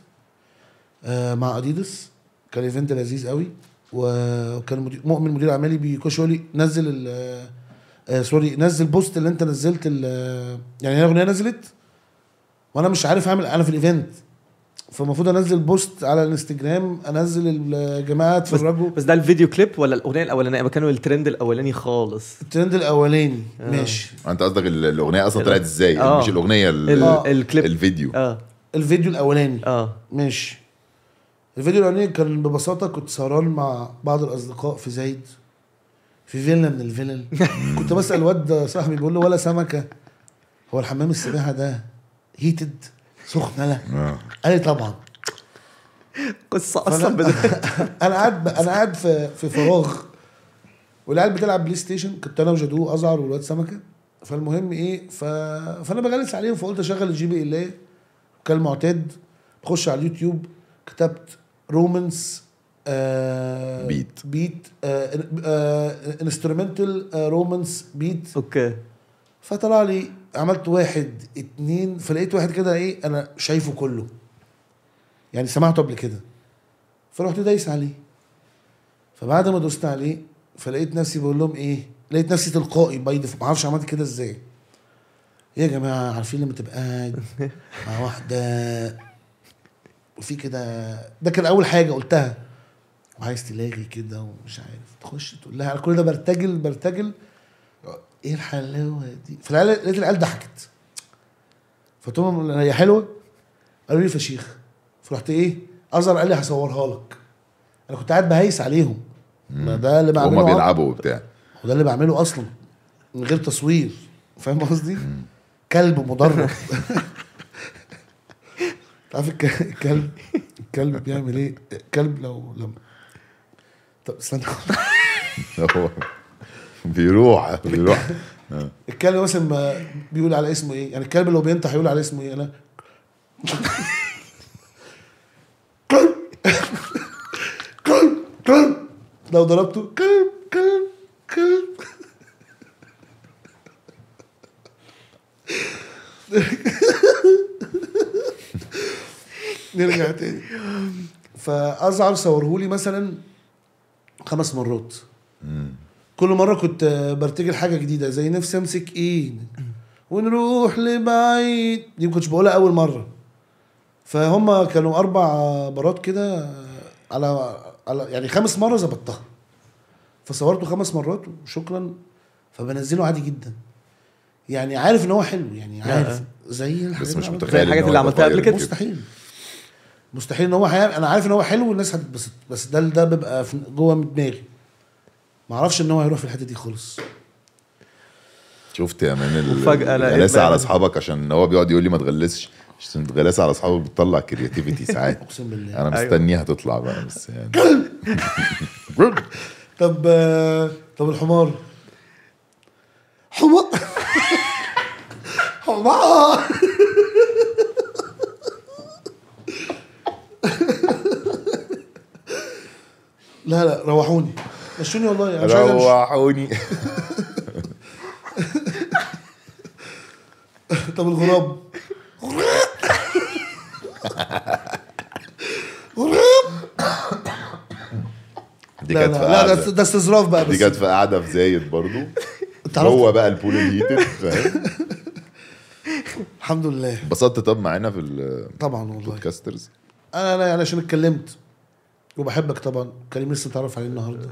[SPEAKER 3] آه، مع اديدس كان ايفنت لذيذ قوي و- وكان مدير مؤمن مدير اعمالي بيخش يقول لي نزل ال آه، آه، سوري نزل بوست اللي انت نزلت ال- آه، يعني هي الاغنيه نزلت وانا مش عارف اعمل انا في الايفنت فالمفروض انزل بوست على الانستجرام انزل الجماعه اتفرجوا
[SPEAKER 2] بس ده الفيديو كليب ولا الاغنيه الاولانيه ما كانوا الترند الاولاني خالص
[SPEAKER 3] الترند الاولاني ماشي
[SPEAKER 1] انت قصدك ال- الاغنيه اصلا طلعت ازاي
[SPEAKER 2] آه.
[SPEAKER 1] مش الاغنيه
[SPEAKER 2] ال-
[SPEAKER 1] ال-
[SPEAKER 2] الكليب.
[SPEAKER 1] الفيديو
[SPEAKER 2] اه
[SPEAKER 3] الفيديو الاولاني
[SPEAKER 2] اه
[SPEAKER 3] ماشي الفيديو الاولاني كان ببساطه كنت سهران مع بعض الاصدقاء في زايد في فيلا من الفلل كنت بسال واد صاحبي بقول له ولا سمكه هو الحمام السباحه ده هيتد سخنه لا
[SPEAKER 1] آه.
[SPEAKER 3] قال لي طبعا
[SPEAKER 2] قصه
[SPEAKER 3] فأنا-
[SPEAKER 2] اصلا بدأ...
[SPEAKER 3] انا قاعد انا قاعد في في فراغ والعيال بتلعب بلاي ستيشن كنت انا وجدو ازعر والواد سمكه فالمهم ايه ف... فانا بجلس عليهم فقلت اشغل الجي بي اللي كالمعتاد بخش على اليوتيوب كتبت رومانس آه
[SPEAKER 1] بيت.
[SPEAKER 3] بيت آه، انسترومنتال رومانس بيت
[SPEAKER 2] اوكي
[SPEAKER 3] فطلع لي عملت واحد اتنين فلقيت واحد كده ايه انا شايفه كله يعني سمعته قبل كده فرحت دايس عليه فبعد ما دوست عليه فلقيت نفسي بقول لهم ايه لقيت نفسي تلقائي باي ديفولت ما اعرفش عملت كده ازاي إيه يا جماعه عارفين لما تبقى قاعد مع واحده وفي كده ده كان اول حاجه قلتها وعايز تلاقي كده ومش عارف تخش تقول لها انا كل ده برتجل برتجل ايه الحلاوه دي فالعيال لقيت العيال ضحكت فقلت لهم هي حلوه قالوا لي فشيخ فرحت ايه ازهر قال لي هصورها لك انا كنت قاعد بهيس عليهم ما ده اللي بعمله
[SPEAKER 1] هما
[SPEAKER 3] عبط.
[SPEAKER 1] بيلعبوا وبتاع
[SPEAKER 3] وده اللي بعمله اصلا من غير تصوير فاهم قصدي كلب مدرب عارف الك- الكلب الكلب بيعمل ايه الكلب لو لما طب استنى
[SPEAKER 1] هو بيروح بيروح
[SPEAKER 3] الكلب مثلا ما بيقول على اسمه ايه يعني الكلب لو بينطح يقول على اسمه ايه انا كلب كلب كلب لو ضربته كلب كلب كلب نرجع تاني فازعر صورهولي مثلا خمس مرات كل مره كنت برتجل حاجه جديده زي نفسي امسك ايد ونروح لبعيد دي ما كنتش بقولها اول مره فهم كانوا اربع مرات كده على على يعني خمس مره ظبطتها فصورته خمس مرات وشكرا فبنزله عادي جدا يعني عارف ان هو حلو يعني عارف زي الحاجات
[SPEAKER 1] بس
[SPEAKER 3] اللي
[SPEAKER 1] مش
[SPEAKER 3] عملتها.
[SPEAKER 1] متخيل
[SPEAKER 2] الحاجات
[SPEAKER 1] إن هو
[SPEAKER 2] اللي عملتها قبل
[SPEAKER 1] يتغير
[SPEAKER 2] كده.
[SPEAKER 3] مستحيل مستحيل ان هو هيعمل انا عارف ان هو حلو والناس هتتبسط بس ده ده بيبقى في- جوه من دماغي ما اعرفش ان هو هيروح في الحته دي خالص
[SPEAKER 1] شفت يا مان ال-
[SPEAKER 2] وفجأة لقيت
[SPEAKER 1] الغلاسه
[SPEAKER 2] بقى-
[SPEAKER 1] على اصحابك عشان هو بيقعد يقول لي ما تغلسش عشان الغلاسه على اصحابك بتطلع كرياتيفيتي ساعات
[SPEAKER 3] اقسم بالله
[SPEAKER 1] انا
[SPEAKER 2] أيوة.
[SPEAKER 1] مستنيها تطلع بقى بس يعني
[SPEAKER 3] طب آه، طب الحمار حمار حمار لا لا روحوني مشوني والله انا مش عايز امشي
[SPEAKER 1] روحوني
[SPEAKER 3] طب الغراب غراب
[SPEAKER 1] دي
[SPEAKER 3] لا
[SPEAKER 1] كانت في
[SPEAKER 3] لا لا
[SPEAKER 1] قعدة-
[SPEAKER 3] ده- ده استظراف بقى
[SPEAKER 1] دي
[SPEAKER 3] بس
[SPEAKER 1] كانت في قاعده في زايد برضو
[SPEAKER 3] انت عرفت؟
[SPEAKER 1] هو بقى البول الهيتد فاهم
[SPEAKER 3] الحمد لله
[SPEAKER 1] اتبسطت طب معانا في البودكاسترز
[SPEAKER 3] طبعا والله انا انا يعني عشان اتكلمت وبحبك طبعا كريم لسه متعرف عليه النهارده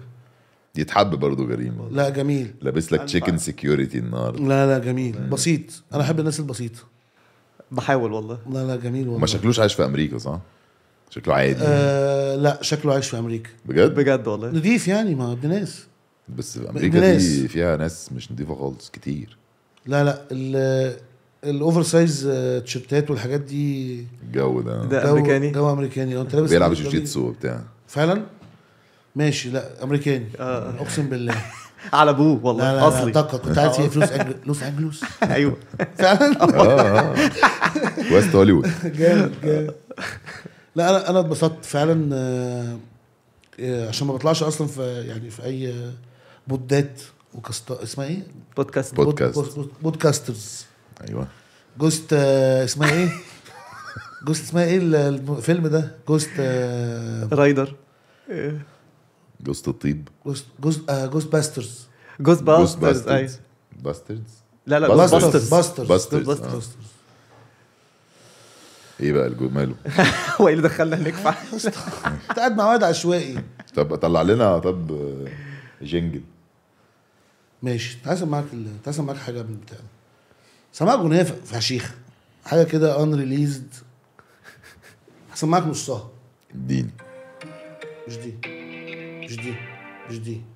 [SPEAKER 1] يتحب برضه جريمه
[SPEAKER 3] لا جميل
[SPEAKER 1] لابس لك
[SPEAKER 2] أنا
[SPEAKER 1] تشيكن
[SPEAKER 2] فاهم.
[SPEAKER 1] سكيورتي النهارده
[SPEAKER 3] لا لا جميل بسيط انا احب الناس البسيطه
[SPEAKER 2] بحاول والله
[SPEAKER 3] لا لا جميل والله
[SPEAKER 1] ما شكلوش عايش في امريكا صح؟ شكله عادي
[SPEAKER 3] آه لا شكله عايش في امريكا
[SPEAKER 1] بجد
[SPEAKER 2] بجد والله
[SPEAKER 3] نضيف يعني ما ابن ناس
[SPEAKER 1] بس في امريكا
[SPEAKER 3] ناس.
[SPEAKER 1] دي فيها ناس مش نظيفه خالص كتير
[SPEAKER 3] لا لا ال- الاوفر سايز آه، تيشيرتات والحاجات دي
[SPEAKER 1] الجو ده,
[SPEAKER 2] ده
[SPEAKER 3] جو-
[SPEAKER 2] امريكاني
[SPEAKER 3] جو امريكاني لو انت لابس
[SPEAKER 1] بيلعب
[SPEAKER 3] أمريكاني-
[SPEAKER 1] جوجيتسو وبتاع
[SPEAKER 3] فعلا ماشي لا امريكاني
[SPEAKER 2] آه.
[SPEAKER 3] اقسم بالله
[SPEAKER 2] على ابوه
[SPEAKER 3] لا
[SPEAKER 2] والله
[SPEAKER 3] لا اصلي
[SPEAKER 2] اصلي
[SPEAKER 3] لا دقة. كنت عايز ايه فلوس أجل... لوس انجلوس
[SPEAKER 2] ايوه
[SPEAKER 3] فعلا
[SPEAKER 1] اه اه ويست هوليوود
[SPEAKER 3] جامد جامد لا انا انا اتبسطت فعلا آه، آه، عشان ما بطلعش اصلا في يعني في اي آه، بودات وكاست اسمها ايه؟
[SPEAKER 2] بودكاست
[SPEAKER 1] بود- بودكاست.
[SPEAKER 3] بود- بود- بودكاسترز
[SPEAKER 1] ايوه
[SPEAKER 3] جوست آه، اسمها ايه؟ جوست اسمها ايه ال- الفيلم ده؟ جوست آه،
[SPEAKER 2] رايدر آه،
[SPEAKER 3] إيه.
[SPEAKER 1] جوست الطيب
[SPEAKER 3] جوست جوست آه، جوست باسترز
[SPEAKER 2] جوست
[SPEAKER 1] جوست
[SPEAKER 2] باسترز أيوة.
[SPEAKER 1] باسترز باستردز
[SPEAKER 2] لا لا
[SPEAKER 1] باسترز.
[SPEAKER 2] جوست
[SPEAKER 3] باسترز
[SPEAKER 2] باسترز
[SPEAKER 3] باسترز
[SPEAKER 1] باسترز، آه.
[SPEAKER 3] جوست باسترز.
[SPEAKER 1] ايه بقى الجو ماله
[SPEAKER 2] هو ايه اللي دخلنا هناك فعلا
[SPEAKER 3] كنت قاعد مع واد عشوائي
[SPEAKER 1] طب طلع لنا طب آه، جنجل
[SPEAKER 3] ماشي كنت عايز معاك ال... كنت عايز معاك حاجه من بتاع سمعك اغنيه ف- فشيخه حاجه كده ان ريليزد هسمعك نصها
[SPEAKER 1] اديني
[SPEAKER 3] مش دي مش دي مش دي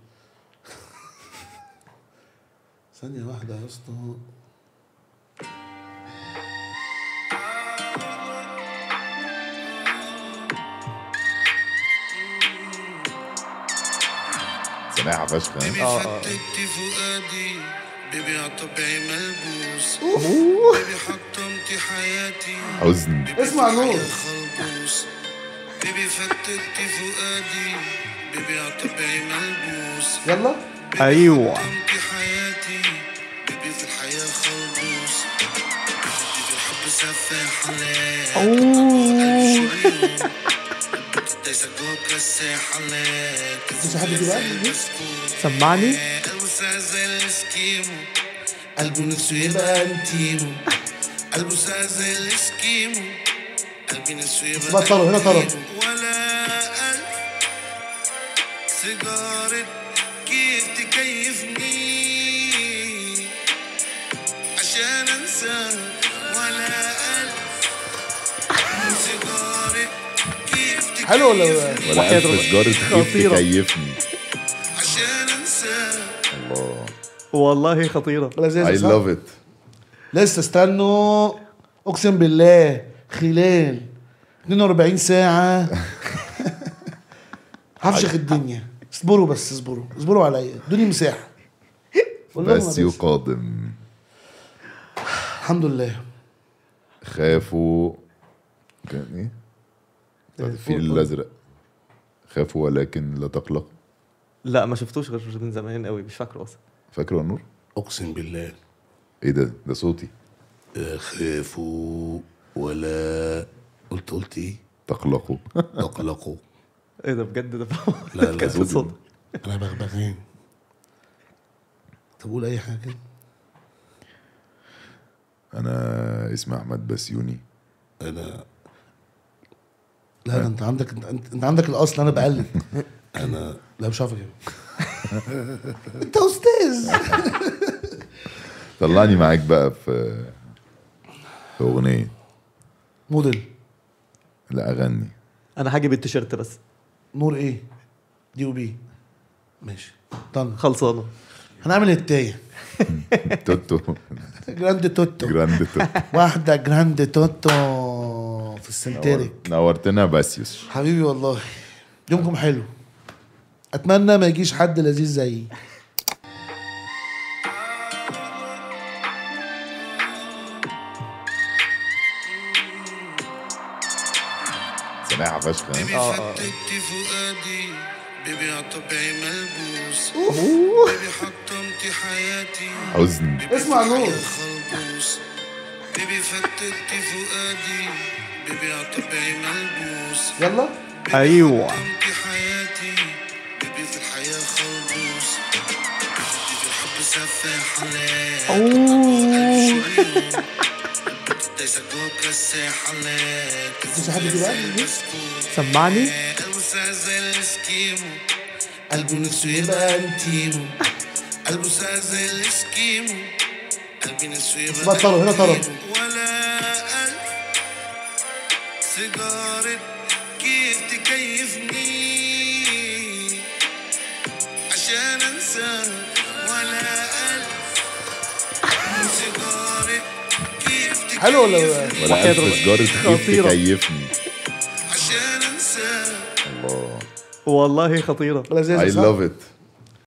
[SPEAKER 3] ثانية واحدة يا اسطى
[SPEAKER 1] سامعها فشخ ها؟
[SPEAKER 2] آه،
[SPEAKER 4] بيبي
[SPEAKER 2] آه.
[SPEAKER 4] فتت فؤادي بيبي عالطبيعي ملبوس بيبي حطمتي حياتي
[SPEAKER 1] حزن
[SPEAKER 4] بيبي
[SPEAKER 3] اسمع
[SPEAKER 4] في الحياة
[SPEAKER 3] نور.
[SPEAKER 4] خلبوس بيبي فتت فؤادي بيبي عالطبيعي ملبوس
[SPEAKER 3] يلا أيوة.
[SPEAKER 2] ايوه
[SPEAKER 4] حطمتي حياتي بيبي في الحياة خلبوس بيبي الحب سفاح ليه دايسة جوه الساحة ليه
[SPEAKER 3] مش حد دلوقتي
[SPEAKER 2] سمعني
[SPEAKER 4] ألبسها زي الاسكيمو قلبه نفسه يبقى انتيمو ألبسها زي الاسكيمو قلبي نفسه يبقى
[SPEAKER 3] بقى طرب، هنا طرب.
[SPEAKER 4] أنتيمو. ولا ألف سيجارة كيف تكيفني عشان أنسى ولا ألف سيجارة كيف تكيفني
[SPEAKER 3] حلو ولا-
[SPEAKER 1] ولا
[SPEAKER 2] وحياة
[SPEAKER 1] ألف
[SPEAKER 2] ربنا.
[SPEAKER 1] سجارة كيف
[SPEAKER 2] خطيرة.
[SPEAKER 1] تكيفني
[SPEAKER 4] عشان أنسى
[SPEAKER 1] الله
[SPEAKER 2] والله خطيره
[SPEAKER 3] لذيذة
[SPEAKER 1] اي
[SPEAKER 3] صح؟
[SPEAKER 1] لاف ات
[SPEAKER 3] لسه استنوا اقسم بالله خلال 42 ساعة هفشخ الدنيا اصبروا بس اصبروا اصبروا عليا ادوني مساحة قول لهم
[SPEAKER 1] بس
[SPEAKER 3] يا باشا.
[SPEAKER 1] يقادم
[SPEAKER 3] الحمد لله
[SPEAKER 1] خافوا كان ايه؟
[SPEAKER 2] إيه،
[SPEAKER 1] بتاعت الفيل الازرق خافوا ولكن لا تقلق
[SPEAKER 2] لا ما شفتوش غير من زمان قوي مش فاكره اصلا
[SPEAKER 1] فاكره يا نور؟
[SPEAKER 3] اقسم بالله
[SPEAKER 1] ايه ده؟ ده صوتي
[SPEAKER 3] خافوا ولا قلت قلت ايه؟
[SPEAKER 1] تقلقوا
[SPEAKER 3] تقلقوا
[SPEAKER 2] ايه ده بجد ده
[SPEAKER 3] لا، لا،
[SPEAKER 2] كانت
[SPEAKER 1] صوتي.
[SPEAKER 2] صوت
[SPEAKER 3] انا بغبغان طب قول اي حاجه
[SPEAKER 1] انا اسمي احمد بسيوني
[SPEAKER 3] انا لا ده انت عندك انت, انت عندك الاصل انا بقلد انا لا مش عارف اجيبها انت استاذ
[SPEAKER 1] طلعني معاك بقى في في اغنيه
[SPEAKER 3] موديل
[SPEAKER 1] لا اغني
[SPEAKER 2] انا هجيب التيشيرت بس
[SPEAKER 3] نور ايه؟ دي وبي ماشي طن
[SPEAKER 2] خلصانه
[SPEAKER 3] هنعمل التايه
[SPEAKER 1] توتو
[SPEAKER 3] جراند توتو
[SPEAKER 1] جراند توتو
[SPEAKER 3] واحده جراند توتو في السنتريك
[SPEAKER 1] نورتنا باسيوس
[SPEAKER 3] حبيبي والله يومكم حلو اتمنى ما يجيش حد لذيذ زيي
[SPEAKER 1] سامعها فشخ ها؟
[SPEAKER 4] بيبي
[SPEAKER 2] آه، آه.
[SPEAKER 4] فتت فؤادي بيبي عالطبيعي ملبوس بيبي حطمتي حياتي
[SPEAKER 1] حزن
[SPEAKER 3] اسمع نور
[SPEAKER 4] خلبوس بيبي فتت فؤادي بيبي عالطبيعي ملبوس
[SPEAKER 3] يلا
[SPEAKER 2] ايوه
[SPEAKER 4] حطمتي حياتي بيبي في الحياة خلبوس بيبي في الحب سفاح ليه دايسة جوه الساحة ليه
[SPEAKER 3] مش حد دلوقتي
[SPEAKER 2] سمعني
[SPEAKER 4] ألبسها زي الاسكيمو قلبه نفسه يبقى انتيمو قلبه ساعة زي الاسكيمو قلبي نفسه يبقى
[SPEAKER 3] بقى طرب، هنا طرب.
[SPEAKER 4] أنتيمو. ولا ألف سيجارة كيف تكيفني عشان انساك ولا ألف سيجارة كيف تكيفني
[SPEAKER 3] حلو ولا
[SPEAKER 1] ولا
[SPEAKER 2] وحياة
[SPEAKER 1] ألف سجارة كيف
[SPEAKER 2] خطيرة.
[SPEAKER 1] تكيفني
[SPEAKER 4] عشان انساك
[SPEAKER 1] الله
[SPEAKER 2] والله خطيره
[SPEAKER 3] ولا زي
[SPEAKER 1] I
[SPEAKER 3] صح؟
[SPEAKER 1] love it